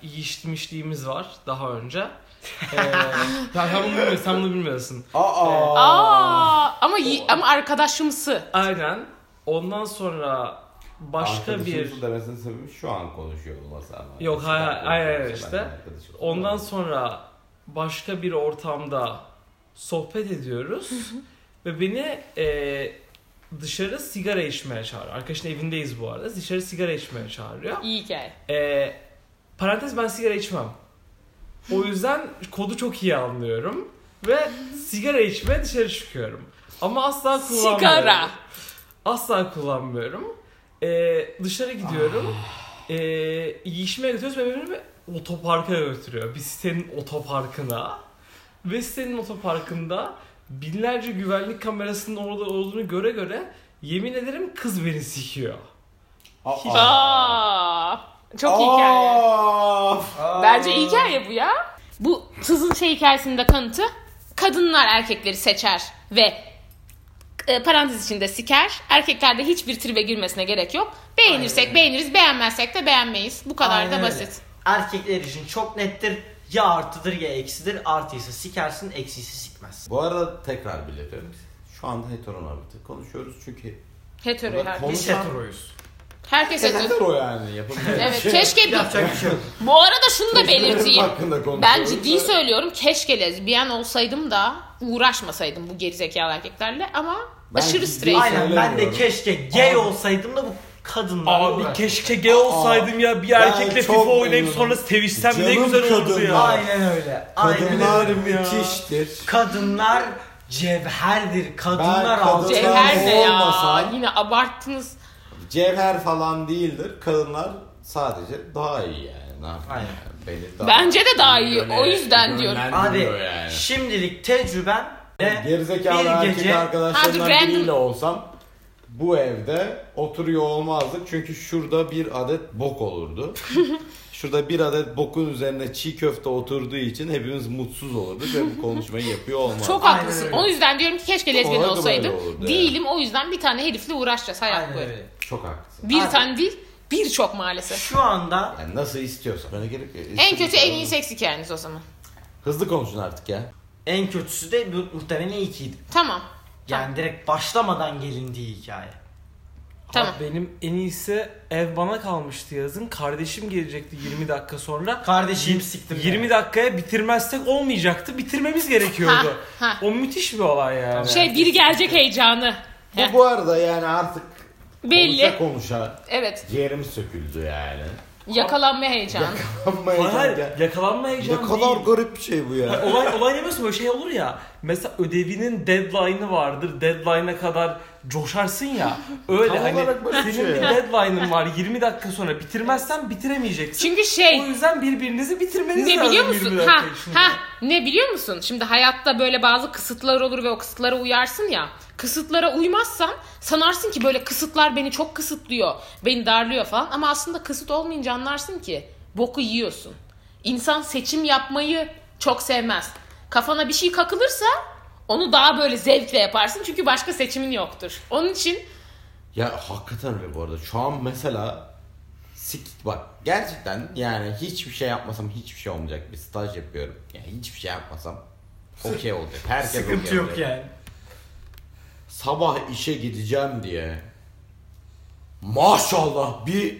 yiyişmişliğimiz var e, daha önce. Ee, ben, sen bunu bilmiyorsun. Sen bunu bilmiyorsun. Aa. Aa, ama yi- ama arkadaşımsı. Aynen. Ondan sonra başka bir... Arkadaşımızın demesinin sebebi şu an konuşuyor olması ama. Yok, Eskiden hayır, konuşuyor hayır, olsa ben işte. arkadaşım Ondan olmam. sonra başka bir ortamda sohbet ediyoruz ve beni e, dışarı sigara içmeye çağırıyor. Arkadaşın evindeyiz bu arada. Dışarı sigara içmeye çağırıyor. İyi hikaye. E, parantez ben sigara içmem. O yüzden kodu çok iyi anlıyorum ve sigara içmeye dışarı çıkıyorum. Ama asla kullanmıyorum. Sigara. Asla kullanmıyorum. Ee, dışarı gidiyorum. Ee, iyi içmeye götürüyoruz ve beni bir otoparka götürüyor. Bir sitenin otoparkına. Ve sitenin otoparkında binlerce güvenlik kamerasının orada olduğunu göre göre yemin ederim kız beni sikiyor. Aa. Çok iyi hikaye. Bence iyi hikaye bu ya. Bu tızın şey hikayesinde kanıtı kadınlar erkekleri seçer ve e, parantez içinde siker. Erkeklerde hiçbir tribe girmesine gerek yok. Beğenirsek beğeniriz, beğenmezsek de beğenmeyiz. Bu kadar Aynen da öyle. basit. Erkekler için çok nettir. Ya artıdır ya eksidir. Artıysa sikersin, eksisi sikmez. Bu arada tekrar belirtelim. Şu anda heteronormatif konuşuyoruz çünkü Hetero her. Biz heteroyuz. Herkes hetero. *laughs* hetero yani yapabileceğimiz Evet, keşke bir... *laughs* Yapacak bir şey yok. Bu arada şunu da belirteyim. hakkında konuşuyoruz. Ben ciddi söylüyorum. Keşke lezbiyen olsaydım da uğraşmasaydım bu gerizekalı erkeklerle ama Ben aşırı ciddi- straight. Aynen ben de Söylemiyorum. keşke gay olsaydım da bu kadınlarla Abi uğraşmam. keşke gay olsaydım ya bir erkekle çok FIFA oynayıp memnunum. sonra sevişsem ne Canım güzel olurdu kadın. ya. Aynen öyle. Aynen Kadınlar öyle. müthiştir. Kadınlar cevherdir. Kadınlar Ben kadın- alacak. Cevher ne ya? Olmasa- Yine abarttınız. Cevher falan değildir. Kadınlar sadece daha iyi yani. Ne yapayım Aynen. yani? Beni daha Bence de daha iyi. yöne- O yüzden diyorum. Abi yönlendiriyor yani. şimdilik tecrüben ve Gerizekalı bir erkek gece- arkadaşlarımdan Hadi random- biriyle olsam bu evde oturuyor olmazdık. Çünkü şurada bir adet *laughs* bok olurdu. şurada bir adet bokun üzerine çiğ köfte oturduğu için hepimiz mutsuz olurduk ve bu konuşmayı yapıyor olmazdık. Çok Aynen haklısın. öyle. O yüzden diyorum ki keşke lezbiyen Olay da olsaydım. böyle olurdu Değilim. O yüzden bir tane herifle uğraşacağız hayat Aynen boyu. öyle. Çok haklısın. Bir Abi. tane değil, birçok maalesef. Şu anda Yani nasıl istiyorsan. Bana gerek yok. En kötü en iyi seks hikayeniz o zaman. Hızlı konuşun artık ya. en kötüsü de bu- muhtemelen ikiydi. Tamam. Yani direkt başlamadan gelindiği hikaye. Tamam. Abi Benim en iyisi ev bana kalmıştı yazın. Kardeşim gelecekti 20 dakika sonra. Kardeşim siktim. 20 dakikaya bitirmezsek olmayacaktı. Bitirmemiz Ha, gerekiyordu. ha. O müthiş bir olay yani. Şey biri gelecek heyecanı. Heh. Bu bu arada yani artık Belli. konuşa konuşa Evet. ciğerim söküldü yani. Yakalanma heyecanı. Ama Hayır, ya- yakalanma ne heyecanı kadar değil. garip bir şey bu ya. olay olay demiyorsun böyle şey olur ya. Mesela ödevinin deadline'ı vardır. Deadline'a kadar coşarsın ya. Öyle Tam hani olarak böyle bir senin şey ya. bir deadline'ın var 20 dakika sonra bitirmezsen bitiremeyeceksin. Çünkü şey o yüzden birbirinizi bitirmeniz ne lazım biliyor 20 musun? dakika Ha, içinde. ha, ne biliyor musun? Şimdi hayatta böyle bazı kısıtlar olur ve o kısıtlara uyarsın ya. Kısıtlara uymazsan sanarsın ki böyle kısıtlar beni çok kısıtlıyor, beni darlıyor falan. Ama aslında kısıt olmayınca anlarsın ki boku yiyorsun. İnsan seçim yapmayı çok sevmez. Kafana bir şey kakılırsa onu daha böyle zevkle yaparsın çünkü başka seçimin yoktur. Onun için Ya hakikaten öyle bu arada. Şu an mesela sik bak gerçekten yani hiçbir şey yapmasam hiçbir şey olmayacak. Bir staj yapıyorum. Yani hiçbir şey yapmasam okey olacak. Herkes Sıkıntı okey yok olacak. yani. Sabah işe gideceğim diye maşallah bir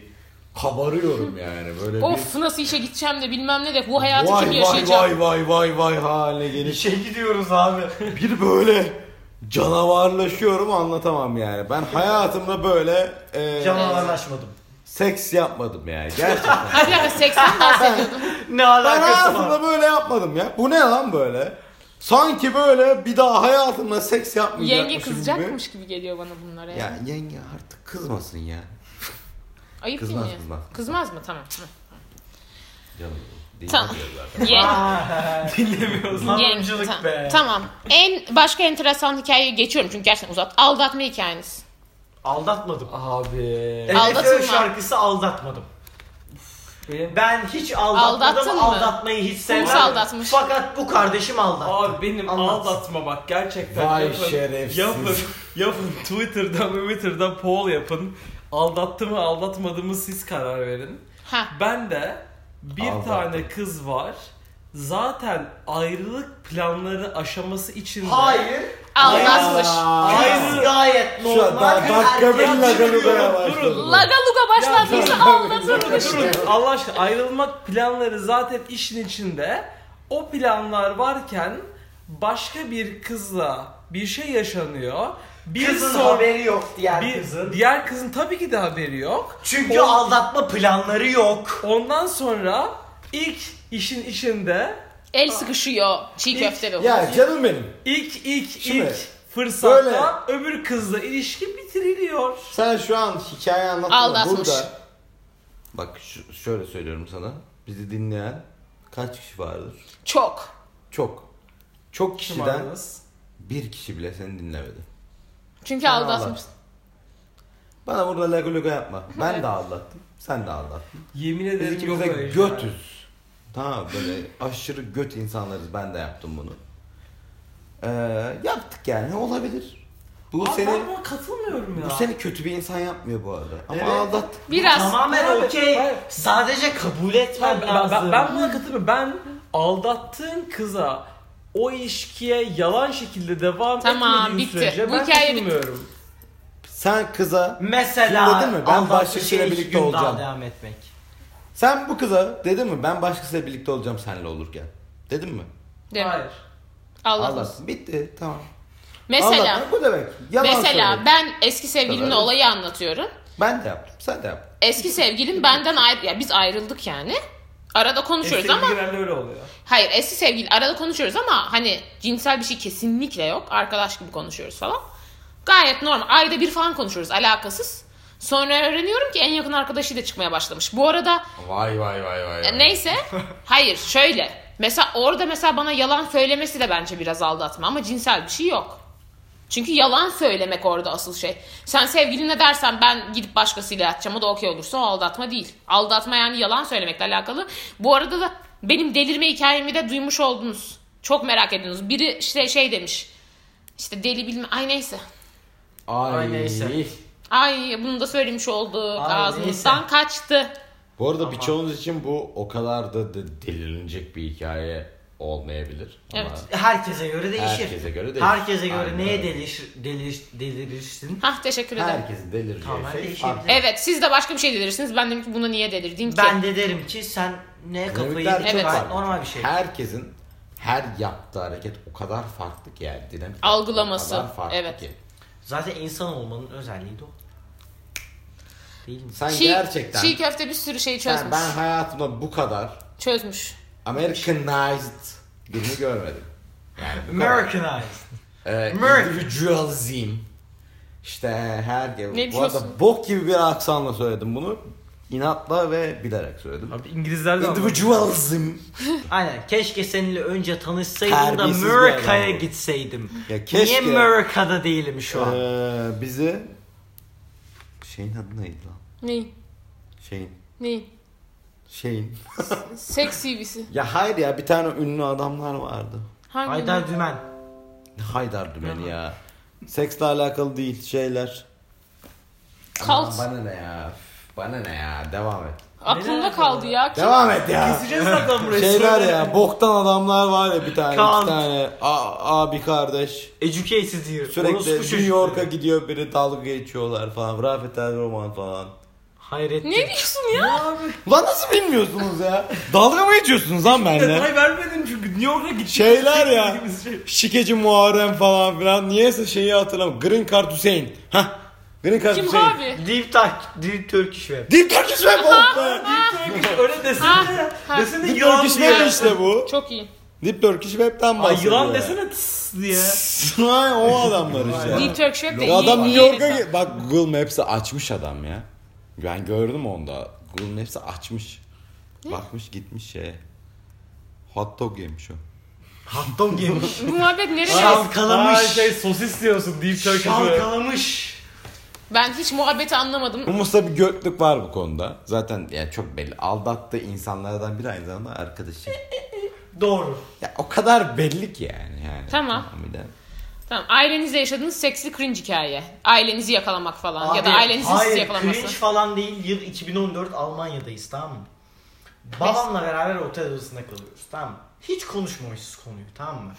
kabarıyorum yani böyle bir of nasıl işe gideceğim de bilmem ne de bu hayatı vay kim vay yaşayacak? vay vay vay vay haline gelip İşe Şey gidiyoruz abi. bir böyle canavarlaşıyorum anlatamam yani. Ben hayatımda böyle e, Canavarlaşmadım. seks yapmadım yani gerçekten. Hadi ya *laughs* 80 bahsediyordum. Ne Ben alakası var? hayatımda böyle yapmadım ya. Bu ne lan böyle? Sanki böyle bir daha hayatımda seks yapmayacakmışım Yenge gibi. kızacakmış gibi geliyor bana bunlara. Ya. Ya yenge artık kızmasın ya. Ayıp kızmaz, değil mi? kızmaz. Kızmaz mı? Tamam. Canım. Tamam. dinlemiyor zaten. Ye- Dinlemiyoruz. Hanımcılık Tamam. be. Tamam. En başka enteresan hikayeye geçiyorum çünkü gerçekten uzat. Aldatma hikayeniz. Aldatmadım. Abi. Aldatılma. Evet şarkısı aldatmadım. Benim- Ben hiç aldatmadım. Aldattın mı? Aldatmayı hiç sevmem. aldatmış. Fakat bu kardeşim aldattı. Abi benim Anlat. aldatma bak gerçekten Vay yapın, şerefsiz. yapın, yapın Twitter'dan Twitter'dan poll yapın. Aldattı mı aldatmadı mı siz karar verin. Ha. Ben de bir Aldattı. tane kız var. zaten ayrılık planları aşaması için de- Hayır. Anlaşmış. Kız gayet Şu an normal. daha dakika bir erkek. laganı baya başladı. Lagaluga başladıysa Durun, anlatır. durun. Allah aşkına ayrılmak planları zaten işin içinde. O planlar varken başka bir kızla bir şey yaşanıyor. Bir Kızın son- haberi yok diğer bir- kızın. diğer kızın tabii ki de haberi yok. Çünkü aldatma planları yok. Ondan sonra ilk işin içinde El sıkışıyor. Çiğ köfte ve Ya canım benim. ilk ilk Şimdi, ilk fırsatta öbür kızla ilişki bitiriliyor. Sen şu an hikaye anlatma Aldatmış. burada. Bak şu- şöyle söylüyorum sana. Bizi dinleyen kaç kişi vardır? Çok. Çok. Çok kişiden Şımarınız. bir kişi bile seni dinlemedi. Çünkü aldatmış. Bana burada lego lego yapma. Ben de aldattım. Sen de aldattın. Yemin Biz ederim ikimiz de öyle şeyler. götüz. Tamam böyle aşırı göt insanlarız. Ben de yaptım bunu. Ee, yaptık yani olabilir. Bu Abi seni ben buna katılmıyorum ya. bu seni kötü bir insan yapmıyor bu arada. Ama Evet. aldattık. Biraz. Tamamen Hayır, okey. hayır. Sadece kabul etmem Ben, ben, lazım. ben, ben buna katılmıyorum. Ben aldattığın kıza o ilişkiye yalan şekilde devam Tamam, etmediğin bitti. sürece Bu ben hikaye katılmıyorum. Sen kıza Mesela Şimdi dedin mi? Ben aldatma başkasıyla şeyi iki birlikte gün daha olacağım. devam etmek. sen bu kıza dedin mi ben başkasıyla birlikte olacağım seninle olurken. Dedin mi? Değil mi? Hayır. Aldatmış. Aldattın. Bitti. Tamam. Mesela. Aldatmak bu demek. Yalan Mesela söylemek. ben eski sevgilimle Kadar. olayı anlatıyorum. Ben de yaptım. Sen de yaptın. Eski sevgilim benden ayrı... Ya biz ayrıldık yani. Arada konuşuyoruz ama... Sevgililerle öyle oluyor. Hayır eski sevgili arada konuşuyoruz ama hani cinsel bir şey kesinlikle yok. Arkadaş gibi konuşuyoruz falan. Gayet normal. Ayda bir falan konuşuyoruz alakasız. Sonra öğreniyorum ki en yakın arkadaşıyla çıkmaya başlamış. Bu arada Vay vay vay vay. e, neyse hayır şöyle. Mesela orada mesela bana yalan söylemesi de bence biraz aldatma ama cinsel bir şey yok. Çünkü yalan söylemek orada asıl şey. Sen sevgiline dersen ben gidip başkasıyla yatacağım o da okey olursa o aldatma değil. Aldatma yani yalan söylemekle alakalı. Bu arada da benim delirme hikayemi de duymuş oldunuz. Çok merak ediyorsunuz. Biri işte şey demiş. İşte deli bilme. Ay neyse. Ay. Ay neyse. Ay bunu da söylemiş olduk. Ay Ağzımızdan neyse. kaçtı. Bu arada birçoğunuz için bu o kadar da de- delirilecek bir hikaye olmayabilir. Ama Evet. Herkese göre değişir. Herkese göre değişir. Herkese göre Aynen neye öyle. delir, delir, delirirsin? Hah teşekkür ederim. herkesin delireceği Tamamen şey değişebilir. farklı. Evet siz de başka bir şey delirsiniz. Ben dedim ki buna niye delirdin ki? Ben de derim ki sen ne kafayı Dinamikler yedin? çok Evet. Gayet farklı. normal bir şey. Herkesin her yaptığı hareket o kadar farklı ki yani dinamik. Algılaması, O kadar farklı evet. ki. Zaten insan olmanın özelliği de o. Değil mi? Sen Çiğ- gerçekten Çiğ köfte bir sürü şey çözmüş. ben, ben hayatımda bu kadar Çözmüş. Americanized birini görmedim. Yani bu kadar. Americanized. Ee, Merk. individualizm. İşte her Ne Bu diyorsun? arada bok gibi bir aksanla söyledim bunu. İnatla ve bilerek söyledim. Abi İngilizler de anlamıyor. Individualizm. Aynen. Keşke seninle önce tanışsaydım da Terbiyesiz bir Amerika'ya adam bu. gitseydim. Ya keşke. Niye Amerika'da değilim şu an? Ee, bizi şeyin adı neydi lan? Ne? Şeyin. Ne? Şeyin. Seks CV'si. Ya hayır ya bir tane ünlü adamlar vardı. Hangi? Haydar Dümen. Ne Haydar dümeni ya. Seksle alakalı değil şeyler. Kalt. Aman Bana ne ya? Üf, Bana ne ya? Devam et. Aklımda kaldı ya. Kim? Şey, Devam et ya. Keseceğiz zaten burayı. Şeyler söyle. Şey ya boktan adamlar var ya bir tane Kaan. iki tane A- abi kardeş Educated here. sürekli Orospu New çocukları. York'a gidiyor biri dalga geçiyorlar falan Rafet El Roman falan. Hayret. Ne diyorsun ya? Lan nasıl bilmiyorsunuz ya? dalga mı geçiyorsunuz lan benimle? Detay vermedin çünkü New York'a gittik. Şeyler ya. Dediğimiz şey. Şikeci Muharrem falan filan niyeyse şeyi hatırlamıyorum. Green Card Hüseyin. Hah. Green Card Kim Hüseyin. abi? Deep Dark, Deep Turkish Web. Deep Turkish Web oh be. Öyle desene. Ha, Ah, ha. Desene Deep yılan Turkish diye. Web işte bu. Çok iyi. Deep Turkish Web'den bahsediyor. Ay yılan ya. desene tıs diye. Ay, o adamlar işte. Deep Turkish Web de Ya iyi. adam iyi New York'a insan. ge- bak Google Maps'i açmış adam ya. Ben gördüm onda. Google Maps'i açmış. Bakmış gitmiş şeye. Hot dog yemiş o. Hatta gelmiş. Bu muhabbet nereye? Şalkalamış. Aa, şey sosis diyorsun Deep Turkish Web. Şalkalamış. Ben hiç muhabbeti anlamadım. Humus'ta bir göklük var bu konuda. Zaten yani çok belli. Aldattığı insanlardan biri aynı zamanda arkadaşı. Doğru. ya o kadar belli ki yani. yani. Tamam. bir de. Tamam. Ailenizle yaşadığınız seksli cringe hikaye. Ailenizi yakalamak falan. ya da Abi, ailenizin sizi Hayır cringe yakalaması. falan değil. Yıl 2014 Almanya'dayız tamam mı? Babamla beraber otel odasında kalıyoruz tamam mı? Hiç konuşmamışız konuyu *laughs* tamam mı?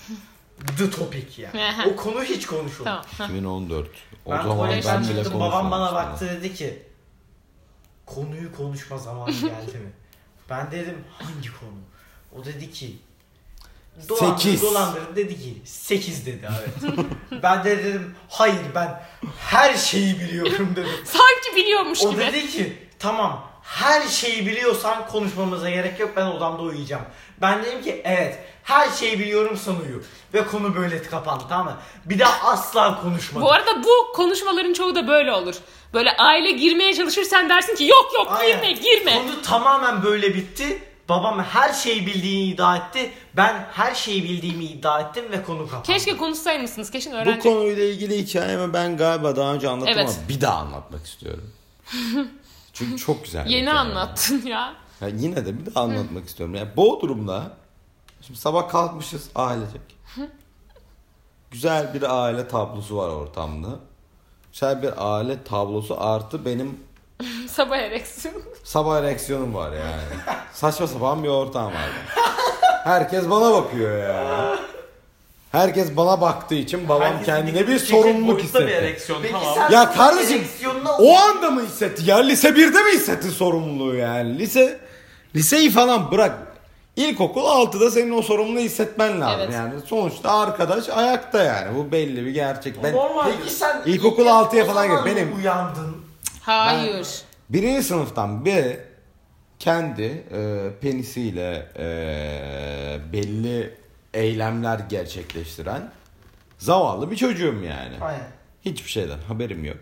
The topic yani. Aha. o konu hiç konuşulmadı. Tamam. 2014. O Ben zaman kolejden ben bile çıktım babam bana konuşmamıştım. baktı dedi ki konuyu *laughs* konuşma zamanı geldi mi? Ben dedim hangi konu? O dedi ki dolandırır Sekiz. dolandırır dedi ki 8 dedi evet. *laughs* ben de dedim hayır ben her şeyi biliyorum dedim. Sanki biliyormuş O gibi. dedi ki tamam her şeyi biliyorsan konuşmamıza gerek yok ben odamda uyuyacağım. Ben dedim ki evet her şeyi biliyorum sen uyu. Ve konu böyle kapandı tamam mı? Bir daha asla konuşmadım. Bu arada bu konuşmaların çoğu da böyle olur. Böyle aile girmeye çalışır sen dersin ki yok yok Aynen. girme girme. Konu tamamen böyle bitti. Babam her şeyi bildiğini iddia etti. Ben her şeyi bildiğimi iddia ettim ve konu kapandı. Keşke konuşsaymışsınız kesin Bu öğrenecek. konuyla ilgili hikayemi ben galiba daha önce anlattım Evet. ama bir daha anlatmak istiyorum. *laughs* Çünkü çok güzel. bir Yeni hikaye. anlattın ya. *laughs* Ya yine de bir daha anlatmak istiyorum. Yani Bodrum'da şimdi sabah kalkmışız *laughs* ailecek. Güzel bir aile tablosu var ortamda. Güzel bir aile tablosu artı benim Sabah ereksin. sabah reaksiyonum var *laughs* yani. Saçma sapan bir ortam var. Herkes bana bakıyor *laughs* ya. Herkes bana baktığı için babam Herkesin kendine dikkat bir çekecek sorumluluk Boyutta bir hissetti. ereksiyon Peki tamam. sen Ya kardeşim, ereksiyonunu al- O anda mı hissetti? Ya lise 1'de mi hissettin sorumluluğu yani? Lise liseyi falan bırak. İlkokul 6'da senin o sorumluluğu hissetmen lazım Evet. yani. Sonuçta arkadaş ayakta yani. Bu belli bir gerçek. Ben Normal. Peki sen İlkokul ilk- altıya falan o zaman gir. Benim- mı uyandın. *laughs* Hayır. birinci sınıftan beri kendi e, penisiyle e, belli eylemler gerçekleştiren zavallı bir çocuğum yani. Aynen. Hiçbir şeyden haberim yok.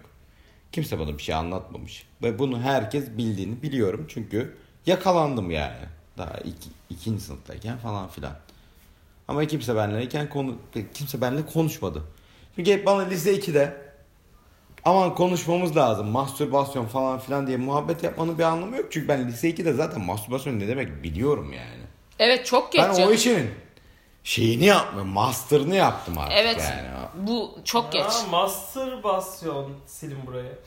Kimse bana bir şey anlatmamış. Ve bunu herkes bildiğini biliyorum çünkü yakalandım yani. Daha iki, ikinci sınıftayken falan filan. Ama kimse benimleyken konu, kimse benimle konuşmadı. Çünkü hep bana lise 2'de aman konuşmamız lazım mastürbasyon falan filan diye muhabbet yapmanın bir anlamı yok. Çünkü ben lise 2'de zaten mastürbasyon ne demek biliyorum yani. Evet çok geç ben o canım. işin şeyini yapmıyorum. Master'ını yaptım artık Evet. yani. Bu çok geç. Aa, mastürbasyon *laughs* silin burayı.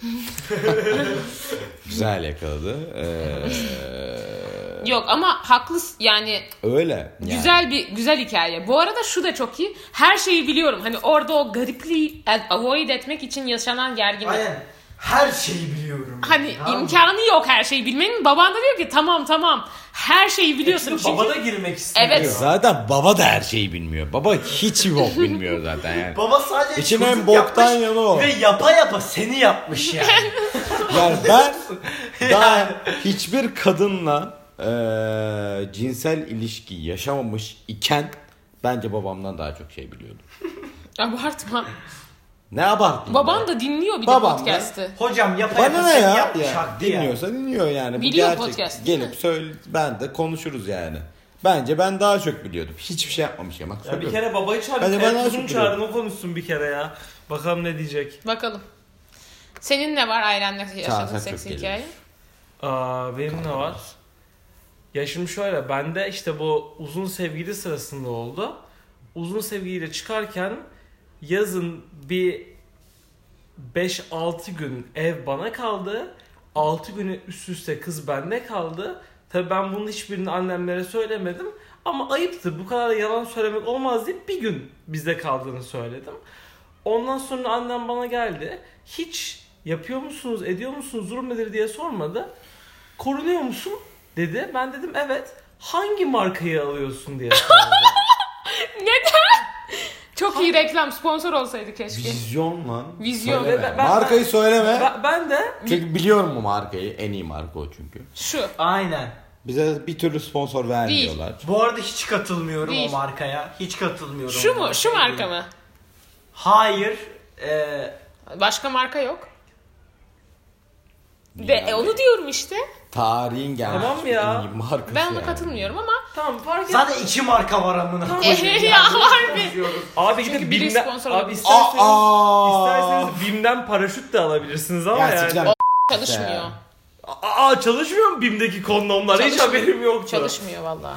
Güzel yakaladı. Ee, Yok ama haklısın yani Öyle. yani. Güzel bir güzel hikaye. Bu arada şu da çok iyi. Her şeyi biliyorum. Hani orada o garipliği ad- avoid etmek için yaşanan gerginlik. Aynen. Her şeyi biliyorum. Hani Tamam mı? imkanı yok her şeyi bilmenin. Baban da diyor ki tamam tamam. Her şeyi biliyorsun. Şimdi Çünkü- baba da girmek istiyor. şey? Evet. Zaten baba da her şeyi bilmiyor. Baba hiç bir bok bilmiyor zaten yani. Baba sadece İçim çocuk en boktan yapmış yanı o. Ve yapa yapa seni *laughs* yapmış yani. Yani ben daha hiçbir kadınla eee, cinsel ilişki yaşamamış iken bence babamdan daha çok şey biliyordum. Abartma. Ne abarttım. Baban da dinliyor bir de Babam da- podcast'ı. Hocam yapa yapa bana ne seni ya? yapmış Ya, hakkı yani. dinliyorsa dinliyor yani. Bu Biliyor gerçek. podcast, değil mi? Gelip söyle ben de konuşuruz yani. Bence ben daha çok biliyordum. Hiçbir şey yapmamış ya. Bak, Ya bir söylüyorum. kere babayı Hadi çağırın. bana Hadi çok kuzunu çağırın o konuşsun bir kere ya. Bakalım ne diyecek. Bakalım. Senin ne var ailenle yaşadığın Çağırsak seks çok gelir. hikaye? Aa, benim ne var? Ya şimdi şöyle bende işte bu uzun sevgili sırasında oldu. Uzun sevgiliyle çıkarken yazın bir 5-6 gün ev bana kaldı. 6 günü üst üste kız bende kaldı. Tabii ben bunun hiçbirini annemlere söylemedim. Ama ayıptı bu kadar yalan söylemek olmaz deyip bir gün bizde kaldığını söyledim. Ondan sonra annem bana geldi. Hiç yapıyor musunuz, ediyor musunuz, durum nedir diye sormadı. Korunuyor musun dedi. Ben dedim evet. Hangi markayı alıyorsun *laughs* diye sordu. Çok iyi reklam sponsor olsaydı keşke. Vizyon lan. Vizyon. Söyleme. Ben- ben- markayı söyleme. ben, ben de Çünkü biliyorum bu markayı. En iyi marka o çünkü. Şu. Aynen. Bize bir türlü sponsor vermiyorlar. Bu arada hiç katılmıyorum Değil. o markaya. Hiç katılmıyorum. Şu o mu? Şu markaya. marka mı? Hayır. Ee, Başka marka yok. De, Yani e, onu diyorum işte. Tarihin gelmiş Tamam en ya. iyi markası Ben ona yani. katılmıyorum ama tamam fark et. zaten iki marka var amına. Ehe *laughs* ya harbi. Abi gidip Çünkü biri BİM'den- sponsor abi olabilir. isterseniz, Aa! isterseniz BİM'den paraşüt de alabilirsiniz ama Ya yani. sikeceğim. Çalışmıyor. Aa çalışmıyor mu BİM'deki kondomlar? Hiç Çalışmıyor. haberim yoktu. Çalışmıyor valla.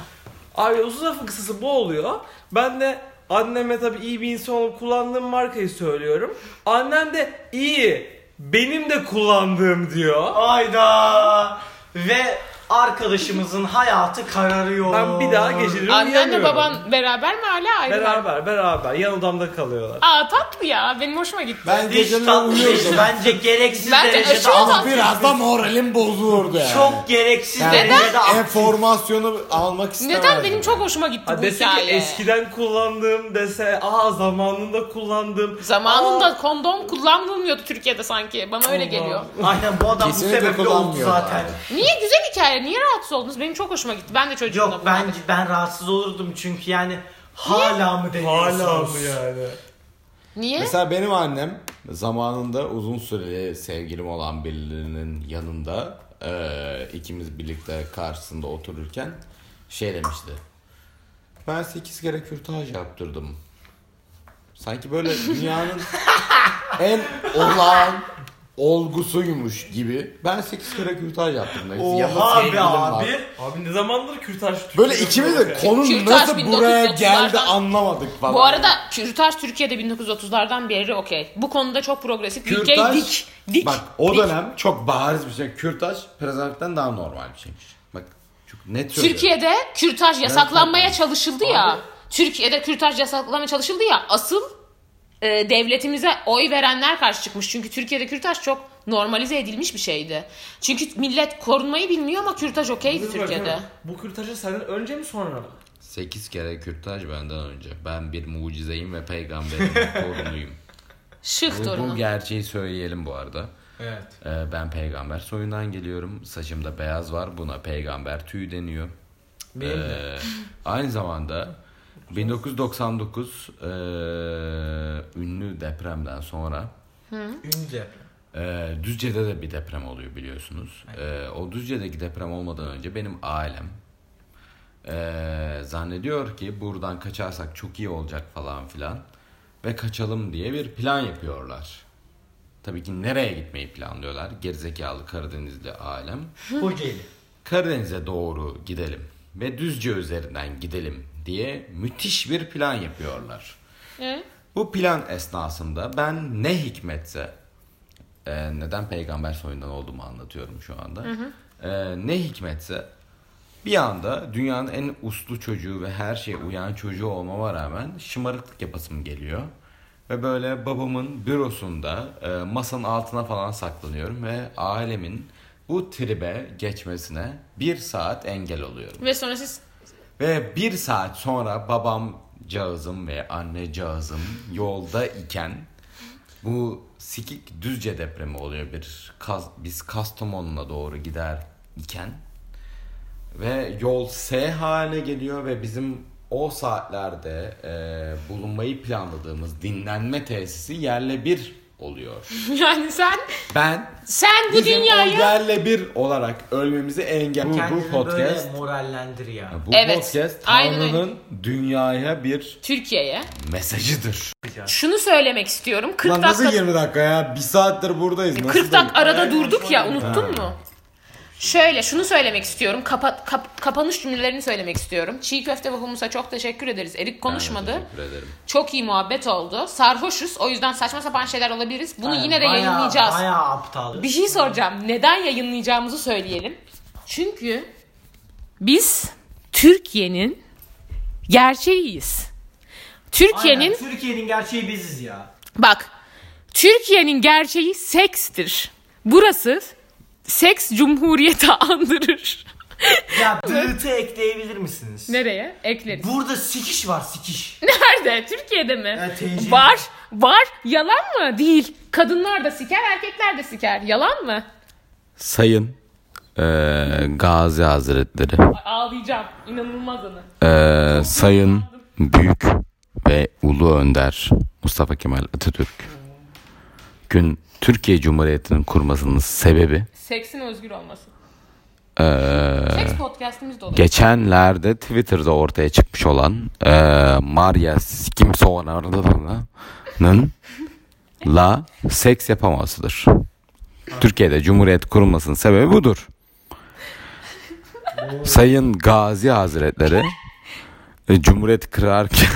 Abi uzun lafın kısası bu oluyor. Ben de anneme tabii iyi bir insan olup kullandığım markayı söylüyorum. Annem de iyi benim de kullandığım diyor. Ayda. Ve arkadaşımızın hayatı kararıyor. Ben bir daha geceleri Annenle uyanıyorum. baban beraber mi hala ayrı mı? Beraber beraber yan odamda kalıyorlar. Aa tatlı ya. Benim hoşuma gitti. Ben Hiç geceleri tatlı değil. şey. uyuyordum. Ah, Bence gereksiz Bence derecede aşırı ama tatlı. Biraz da moralim bozulurdu yani. çok gereksiz Yani derecede Enformasyonu almak istemezdim. Neden benim çok hoşuma gitti Ha bu dese ki hikaye. eskiden kullandığım dese aa zamanında kullandım. Zamanında *laughs* Aa, kondom kullanılmıyordu Türkiye'de sanki. Bana öyle geliyor. Aynen bu adam Kesinlikle bu sebeple oldu kullanmıyorlar. zaten. Niye güzel hikaye? Niye rahatsız oldunuz? Benim çok hoşuma gitti. Ben de çocuğumla Yok ben ben rahatsız olurdum çünkü yani hala mı deniyorsunuz? Hala mı yani? Niye? Mesela benim annem zamanında uzun süreli sevgilim olan birilerinin yanında eee, ikimiz birlikte karşısında otururken şey demişti. Ben 8 kere kürtaj yaptırdım. Sanki böyle *laughs* dünyanın en olağan olgusuymuş gibi. Ben 8 kere kürtaj yaptırdım. demişti. Yanında Oha be sevgilim var. abi. Abi ne zamandır kürtaj tutuyor. Böyle ikimiz de konu Kürtaj nasıl buraya 1930'lardan geldi anlamadık falan. Bu arada kürtaj Türkiye'de 1930'lardan beri okey. Bu konuda çok progresif. bir ülke Kürtaj- dik. Dik. Bak o dik. dönem çok bariz bir şey. Kürtaj prezervatiften daha normal bir şeymiş. Bak çok net söylüyorum. Türkiye'de kürtaj yasaklanmaya Evet, çalışıldı ya. Türkiye'de kürtaj yasaklanmaya çalışıldı ya. Asıl e, devletimize oy verenler karşı çıkmış. Çünkü Türkiye'de kürtaj çok normalize edilmiş bir şeydi. Çünkü millet korunmayı bilmiyor ama kürtaj okeydi Türkiye'de. Bu kürtajı senden önce mi sonra mı? 8 kere kürtaj benden önce. Ben bir mucizeyim *laughs* ve peygamberin torunuyum. Şık Ee, bu, bu torunu. gerçeği söyleyelim bu arada. Evet. Ee, ben peygamber soyundan geliyorum. Saçımda beyaz var. Buna peygamber tüyü deniyor. Benim de. Ee, aynı zamanda 1999 eee, e, ünlü depremden sonra Ünlü. Ee, Düzce'de de bir deprem oluyor biliyorsunuz. Ee, o Düzce'deki deprem olmadan önce benim ailem ee, zannediyor ki buradan kaçarsak çok iyi olacak falan filan ve kaçalım diye bir plan yapıyorlar. Tabii ki nereye gitmeyi planlıyorlar? Gerizekalı Karadenizli ailem. Kocaeli. Karadeniz'e doğru gidelim ve Düzce üzerinden gidelim diye müthiş bir plan yapıyorlar. Ee? Bu plan esnasında ben ne hikmetse e, neden peygamber soyundan olduğumu anlatıyorum şu anda. E, ne hikmetse bir anda dünyanın en uslu çocuğu ve her şeye uyan çocuğu olmama rağmen şımarıklık yapasım geliyor. Ve böyle babamın bürosunda e, masanın altına falan saklanıyorum ve ailemin bu tribe geçmesine bir saat engel oluyorum. Ve sonra siz *laughs* Ve bir saat sonra babam cağızım ve anne cağızım yolda iken bu sikik düzce depremi oluyor bir Kas- biz Kastamonu'na doğru gider iken ve yol S haline geliyor ve bizim o saatlerde e, bulunmayı planladığımız dinlenme tesisi yerle bir oluyor. yani sen Ben sen bu bizim o dünyaya yerle bir olarak ölmemizi engel bu, bu Kendini podcast böyle morallendir ya. bu Evet, podcast aynen öyle. Tanrı'nın dünyaya bir Türkiye'ye mesajıdır. şunu söylemek istiyorum. 40 Lan nasıl dakika 20 dakika ya? Bir saattir buradayız. Nasıl 40 dakika? dakika arada durduk ya unuttun mu? Şöyle şunu söylemek istiyorum. Kapa, kap- kapanış cümlelerini söylemek istiyorum. Çiğ köfte ve humusa çok teşekkür ederiz. Erik konuşmadı. Teşekkür ederim. çok iyi muhabbet oldu. Sarhoşuz. O yüzden saçma sapan şeyler olabiliriz. Bunu yine de Bayağı- yayınlayacağız. Bayağı aptal. Bir şey soracağım. Neden yayınlayacağımızı söyleyelim. Çünkü biz Türkiye'nin gerçeğiyiz. Türkiye'nin Aynen, Türkiye'nin gerçeği biziz ya. Bak, Türkiye'nin gerçeği sekstir. Burası seks cumhuriyeti *laughs* andırır. Ya dırtı ekleyebilir misiniz? Nereye? Ekleriz. Burada sikiş var sikiş. *laughs* Nerede? Türkiye'de mi? Ya teyzeciğim. var, var. Yalan mı? Değil. Kadınlar da siker, erkekler de siker. Yalan mı? Sayın eee, Gazi Hazretleri, Ay, Ağlayacağım. İnanılmaz anı. eee, Sayın Büyük ve Ulu Önder Mustafa Kemal Atatürk gün Türkiye Cumhuriyeti'nin kurmasının sebebi Seksin özgür olması. eee, Seks podcastimiz dolayı. geçenlerde Twitter'da ortaya çıkmış olan eee Maria Skimsoğan'ın la seks yapamasıdır. Türkiye'de Cumhuriyet kurulmasının sebebi budur. Sayın Gazi Hazretleri e, Cumhuriyet kırarken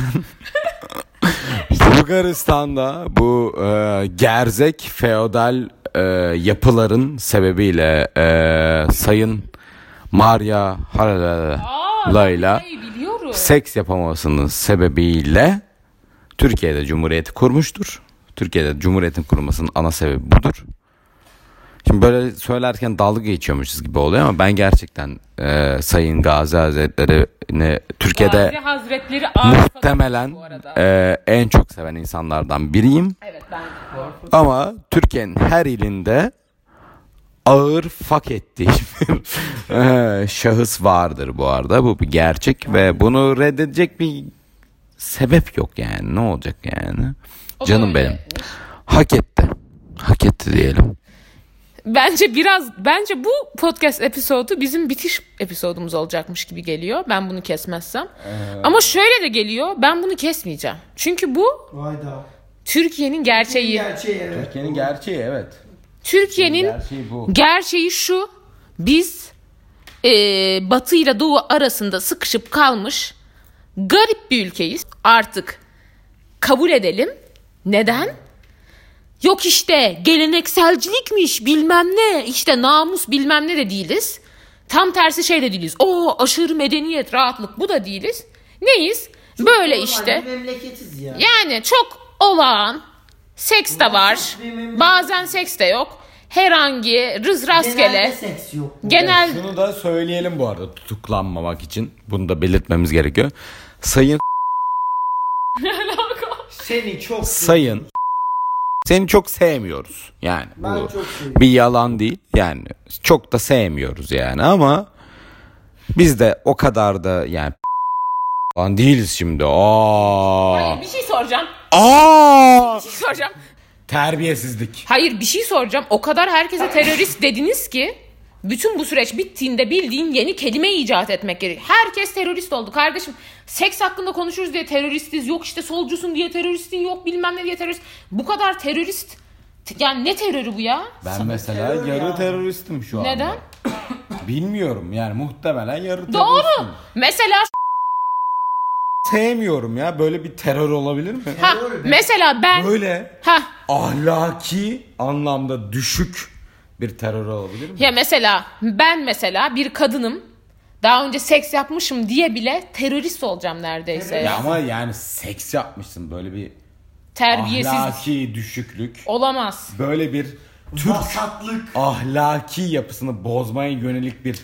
*laughs* Bulgaristan'da bu e, gerzek feodal e, yapıların sebebiyle e, Sayın Maria Halala Aa, şey Layla. Layla'yı biliyorum. seks yapamamasının sebebiyle Türkiye'de Cumhuriyeti kurmuştur. Türkiye'de Cumhuriyet'in kurulmasının ana sebebi budur. Şimdi böyle söylerken dalga geçiyormuşuz gibi oluyor ama ben gerçekten e, Sayın Gazi Hazretleri'ni Türkiye'de Gazi Hazretleri ağır muhtemelen bu arada. e, en çok seven insanlardan biriyim. Evet ben Ama Türkiye'nin her ilinde ağır fak *laughs* ettiği bir e, şahıs vardır bu arada. Bu bir gerçek ve bunu reddedecek bir sebep yok yani. Ne olacak yani? O da Canım öyle. benim. Hak etti. Hak etti diyelim. Bence biraz bence bu podcast episodu bizim bitiş episodumuz olacakmış gibi geliyor. Ben bunu kesmezsem. Ee. Ama şöyle de geliyor. Ben bunu kesmeyeceğim. Çünkü bu Vay da. Türkiye'nin gerçeği. Gerçeği evet. Türkiye'nin gerçeği evet. Türkiye'nin Gerçeği bu. gerçeği şu. Biz eee Batı ile Doğu arasında sıkışıp kalmış garip bir ülkeyiz. Artık kabul edelim. Neden? Yok işte gelenekselcilikmiş bilmem ne işte namus bilmem ne de değiliz. Tam tersi şey de değiliz. O aşırı medeniyet rahatlık bu da değiliz. Neyiz? Böyle işte. Bir memleketiz ya. Yani çok olağan. Seks de var. Bazen seks de yok. Herhangi rız Genelde rastgele. seks yok. Genel *laughs* Şunu da söyleyelim bu arada tutuklanmamak için. Bunu da belirtmemiz gerekiyor. Sayın Seni çok sayın seni çok sevmiyoruz yani Ben bu çok seviyorum. bir yalan değil yani çok da sevmiyoruz yani ama biz de o kadar da yani falan değiliz şimdi aa Hayır bir şey soracağım. aa Bir şey soracağım. terbiyesizlik Hayır bir şey soracağım. O kadar herkese terörist dediniz ki bütün bu süreç bittiğinde bildiğin yeni kelime icat etmek gerekiyor. Herkes terörist oldu kardeşim. Seks hakkında konuşuruz diye teröristiz. Yok işte solcusun diye teröristin. Yok bilmem ne diye terörist. Bu kadar terörist. Yani ne terörü bu ya? ben mesela yarı teröristim şu an Neden? bilmiyorum yani muhtemelen yarı Doğru. Mesela sevmiyorum ya böyle bir terör olabilir mi ha, mesela ben böyle ha ahlaki anlamda düşük bir terör olabilir mi Ya mesela ben mesela bir kadınım. Daha önce seks yapmışım diye bile terörist olacağım neredeyse. Ya ama yani seks yapmışsın böyle bir Terbiyesiz ahlaki düşüklük. olamaz. Böyle bir Türk ahlaki yapısını bozmaya yönelik bir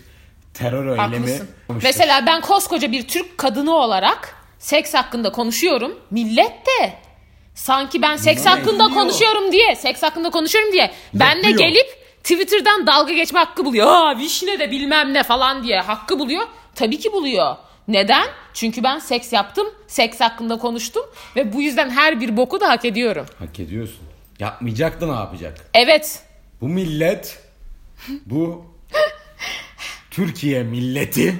terör eylemi. Haklısın. olmuştur. Mesela ben koskoca bir Türk kadını olarak seks hakkında konuşuyorum. Millet de sanki ben seks Bunlar hakkında eğleniyor. konuşuyorum diye, seks hakkında konuşuyorum diye ben de Yapıyor. gelip Twitter'dan dalga geçme hakkı buluyor. Aa vişne de bilmem ne falan diye hakkı buluyor. Tabii ki buluyor. Neden? Çünkü ben seks yaptım, seks hakkında konuştum ve bu yüzden her bir boku da hak ediyorum. Hak ediyorsun. Yapmayacak da ne yapacak? Evet. Bu millet *laughs* bu Türkiye milleti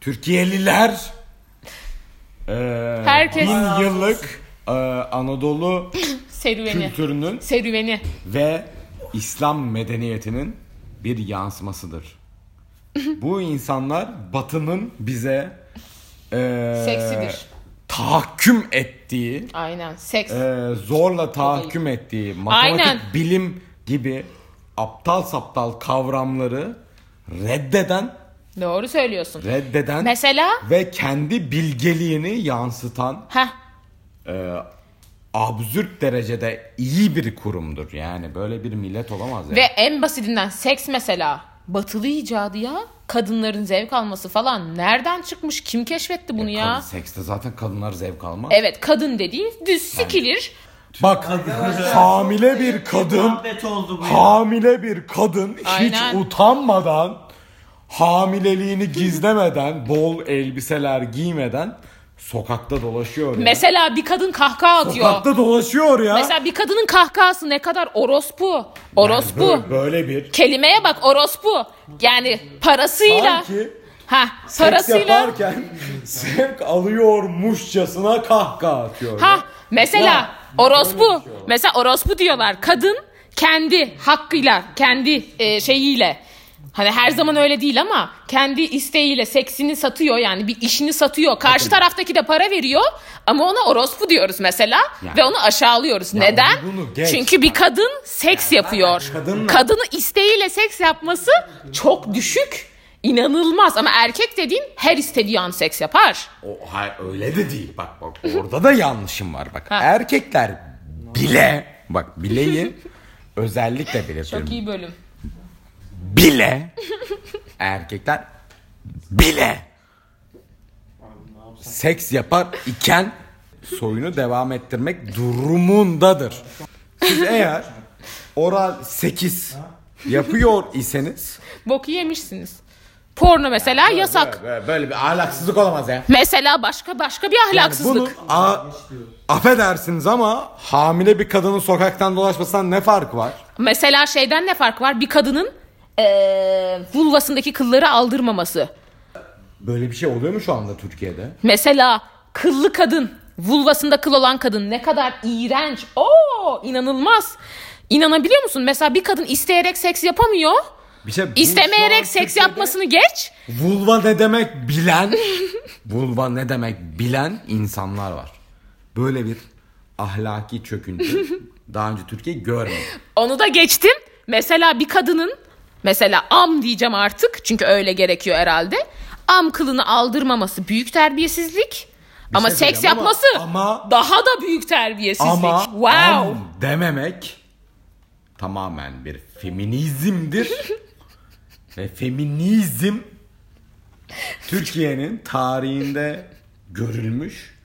Türkiyeliler eee, Herkes- Ee, bin yıllık eee, Anadolu Serüveni. kültürünün Serüveni. ve İslam medeniyetinin bir yansımasıdır. Bu insanlar Batı'nın bize eee, Seksidir. tahakküm ettiği, Aynen. Seks. eee, zorla tahakküm ettiği matematik Aynen. bilim gibi aptal saptal kavramları reddeden, Doğru söylüyorsun. reddeden Mesela ve kendi bilgeliğini yansıtan ha eee absürt derecede iyi bir kurumdur. Yani böyle bir millet olamaz yani. ve en basitinden seks mesela batılı icadı ya. Kadınların zevk alması falan nereden çıkmış? Kim keşfetti bunu ya? Kadın sekste zaten kadınlar zevk almaz. Evet kadın dediğin düz sikilir. Bak hamile bir kadın muhabbet oldu bu. ya. hamile bir kadın Aynen. hiç utanmadan hamileliğini gizlemeden bol elbiseler giymeden sokakta dolaşıyor. ya. Mesela bir kadın kahkaha atıyor. sokakta dolaşıyor ya. Mesela bir kadının kahkahası ne kadar orospu. Orospu. Böyle, böyle bir Kelimeye bak orospu. Yani parasıyla. sanki ha seks parasıyla. yaparken zevk alıyormuşçasına kahkaha atıyor. ya. şey Ha mesela orospu. Mesela orospu diyorlar. Kadın kendi hakkıyla, kendi e, şeyiyle. Hani her zaman öyle değil ama kendi isteğiyle seksini satıyor yani bir işini satıyor. Karşı taraftaki de para veriyor ama ona orospu diyoruz mesela ve onu aşağılıyoruz. Neden? bunu geç. Çünkü bir kadın seks yapıyor. kadınla- Kadını isteğiyle seks yapması çok düşük. İnanılmaz ama erkek dediğin her istediği an seks yapar. O, hayır öyle de değil. Bak bak orada da yanlışım var. Bak Ha. erkekler bile bak bileyi özellikle belirtiyorum. Çok iyi bölüm. Bile erkekler bile seks yapar iken soyunu devam ettirmek durumundadır. Siz eğer oral 8 yapıyor iseniz Boku yemişsiniz. Porno mesela yasak. böyle, böyle bir ahlaksızlık olamaz ya. Mesela başka başka bir ahlaksızlık. Bunu a, affedersiniz ama hamile bir kadının sokaktan dolaşmasından ne farkı var? Mesela şeyden ne fark var? Bir kadının eee vulvasındaki kılları aldırmaması. Böyle bir şey oluyor mu şu anda Türkiye'de? Mesela kıllı kadın, vulvasında kıl olan kadın ne kadar iğrenç. Oo inanılmaz. İnanabiliyor musun? Mesela bir kadın isteyerek seks yapamıyor. Bir şey bu şu an İstemeyerek seks Türkiye'de yapmasını geç. Vulva ne demek bilen, vulva ne demek bilen insanlar var. Böyle bir ahlaki çöküntü *laughs* daha önce Türkiye görmedi. Onu da geçtim. Mesela bir kadının mesela am diyeceğim artık çünkü öyle gerekiyor herhalde. Am kılını aldırmaması büyük terbiyesizlik. ama şey seks diyeceğim ama- yapması ama- daha da büyük terbiyesizlik. Ama wow. am dememek tamamen bir *laughs* feminizmdir. Ve feminizm Türkiye'nin tarihinde görülmüş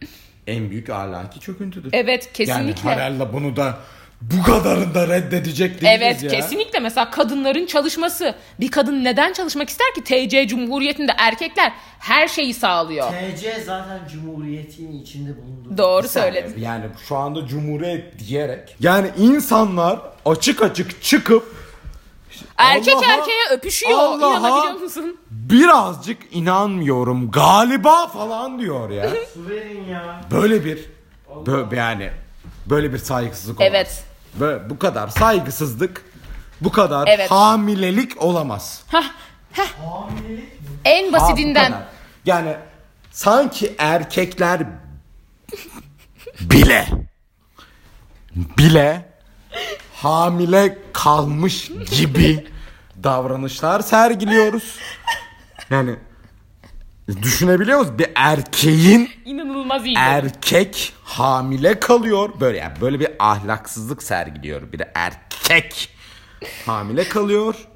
en büyük ahlaki çöküntüdür. Evet kesinlikle. Yani herhalde bunu da bu kadarını da reddedecek değiliz Evet ya. kesinlikle mesela kadınların çalışması. Bir kadın neden çalışmak ister ki? TC Cumhuriyeti'nde erkekler her şeyi sağlıyor. TC zaten cumhuriyetin içinde bulundu. Doğru Yani- söyledin. Yani şu anda cumhuriyet diyerek. Yani insanlar açık açık çıkıp Erkek Allah'a- erkeğe öpüşüyor. Allah'a- İnanabiliyor musun? birazcık inanmıyorum galiba falan diyor ya. *laughs* Su verin ya. Böyle bir bö- yani böyle bir saygısızlık olamaz. Evet. Böyle- bu kadar saygısızlık bu kadar Evet. hamilelik olamaz. En Ha, bu basitinden. kadar. Yani sanki erkekler bile bile hamile kalmış gibi davranışlar sergiliyoruz. Yani düşünebiliyor musunuz? Bir erkeğin İnanılmaz iyi. erkek hamile kalıyor. Böyle yani böyle bir ahlaksızlık sergiliyor. Bir erkek hamile kalıyor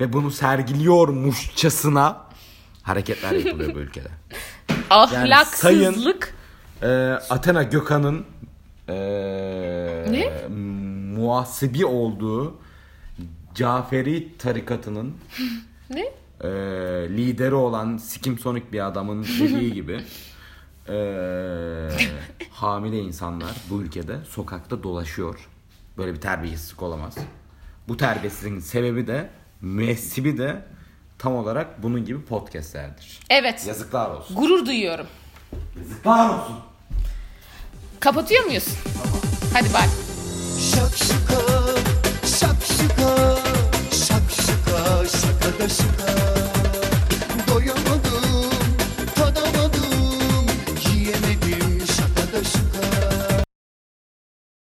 ve bunu sergiliyormuşçasına hareketler yapılıyor bu ülkede. Ahlaksızlık. Ee, Athena Gökhan'ın ee, Ne? muhasibi olduğu Caferi tarikatının *laughs* Ne? ee, lideri olan Sikim Sonic bir adamın dediği gibi *laughs* ee, hamile insanlar bu ülkede sokakta dolaşıyor. Böyle bir terbiyesizlik olamaz. Bu terbiyesizliğin sebebi de müessibi de tam olarak bunun gibi podcastlerdir. Evet. Yazıklar olsun. Gurur duyuyorum. Yazıklar olsun. Kapatıyor muyuz? Hadi bay. Şakşuka, şakşuka, şakşuka, şakada şuka.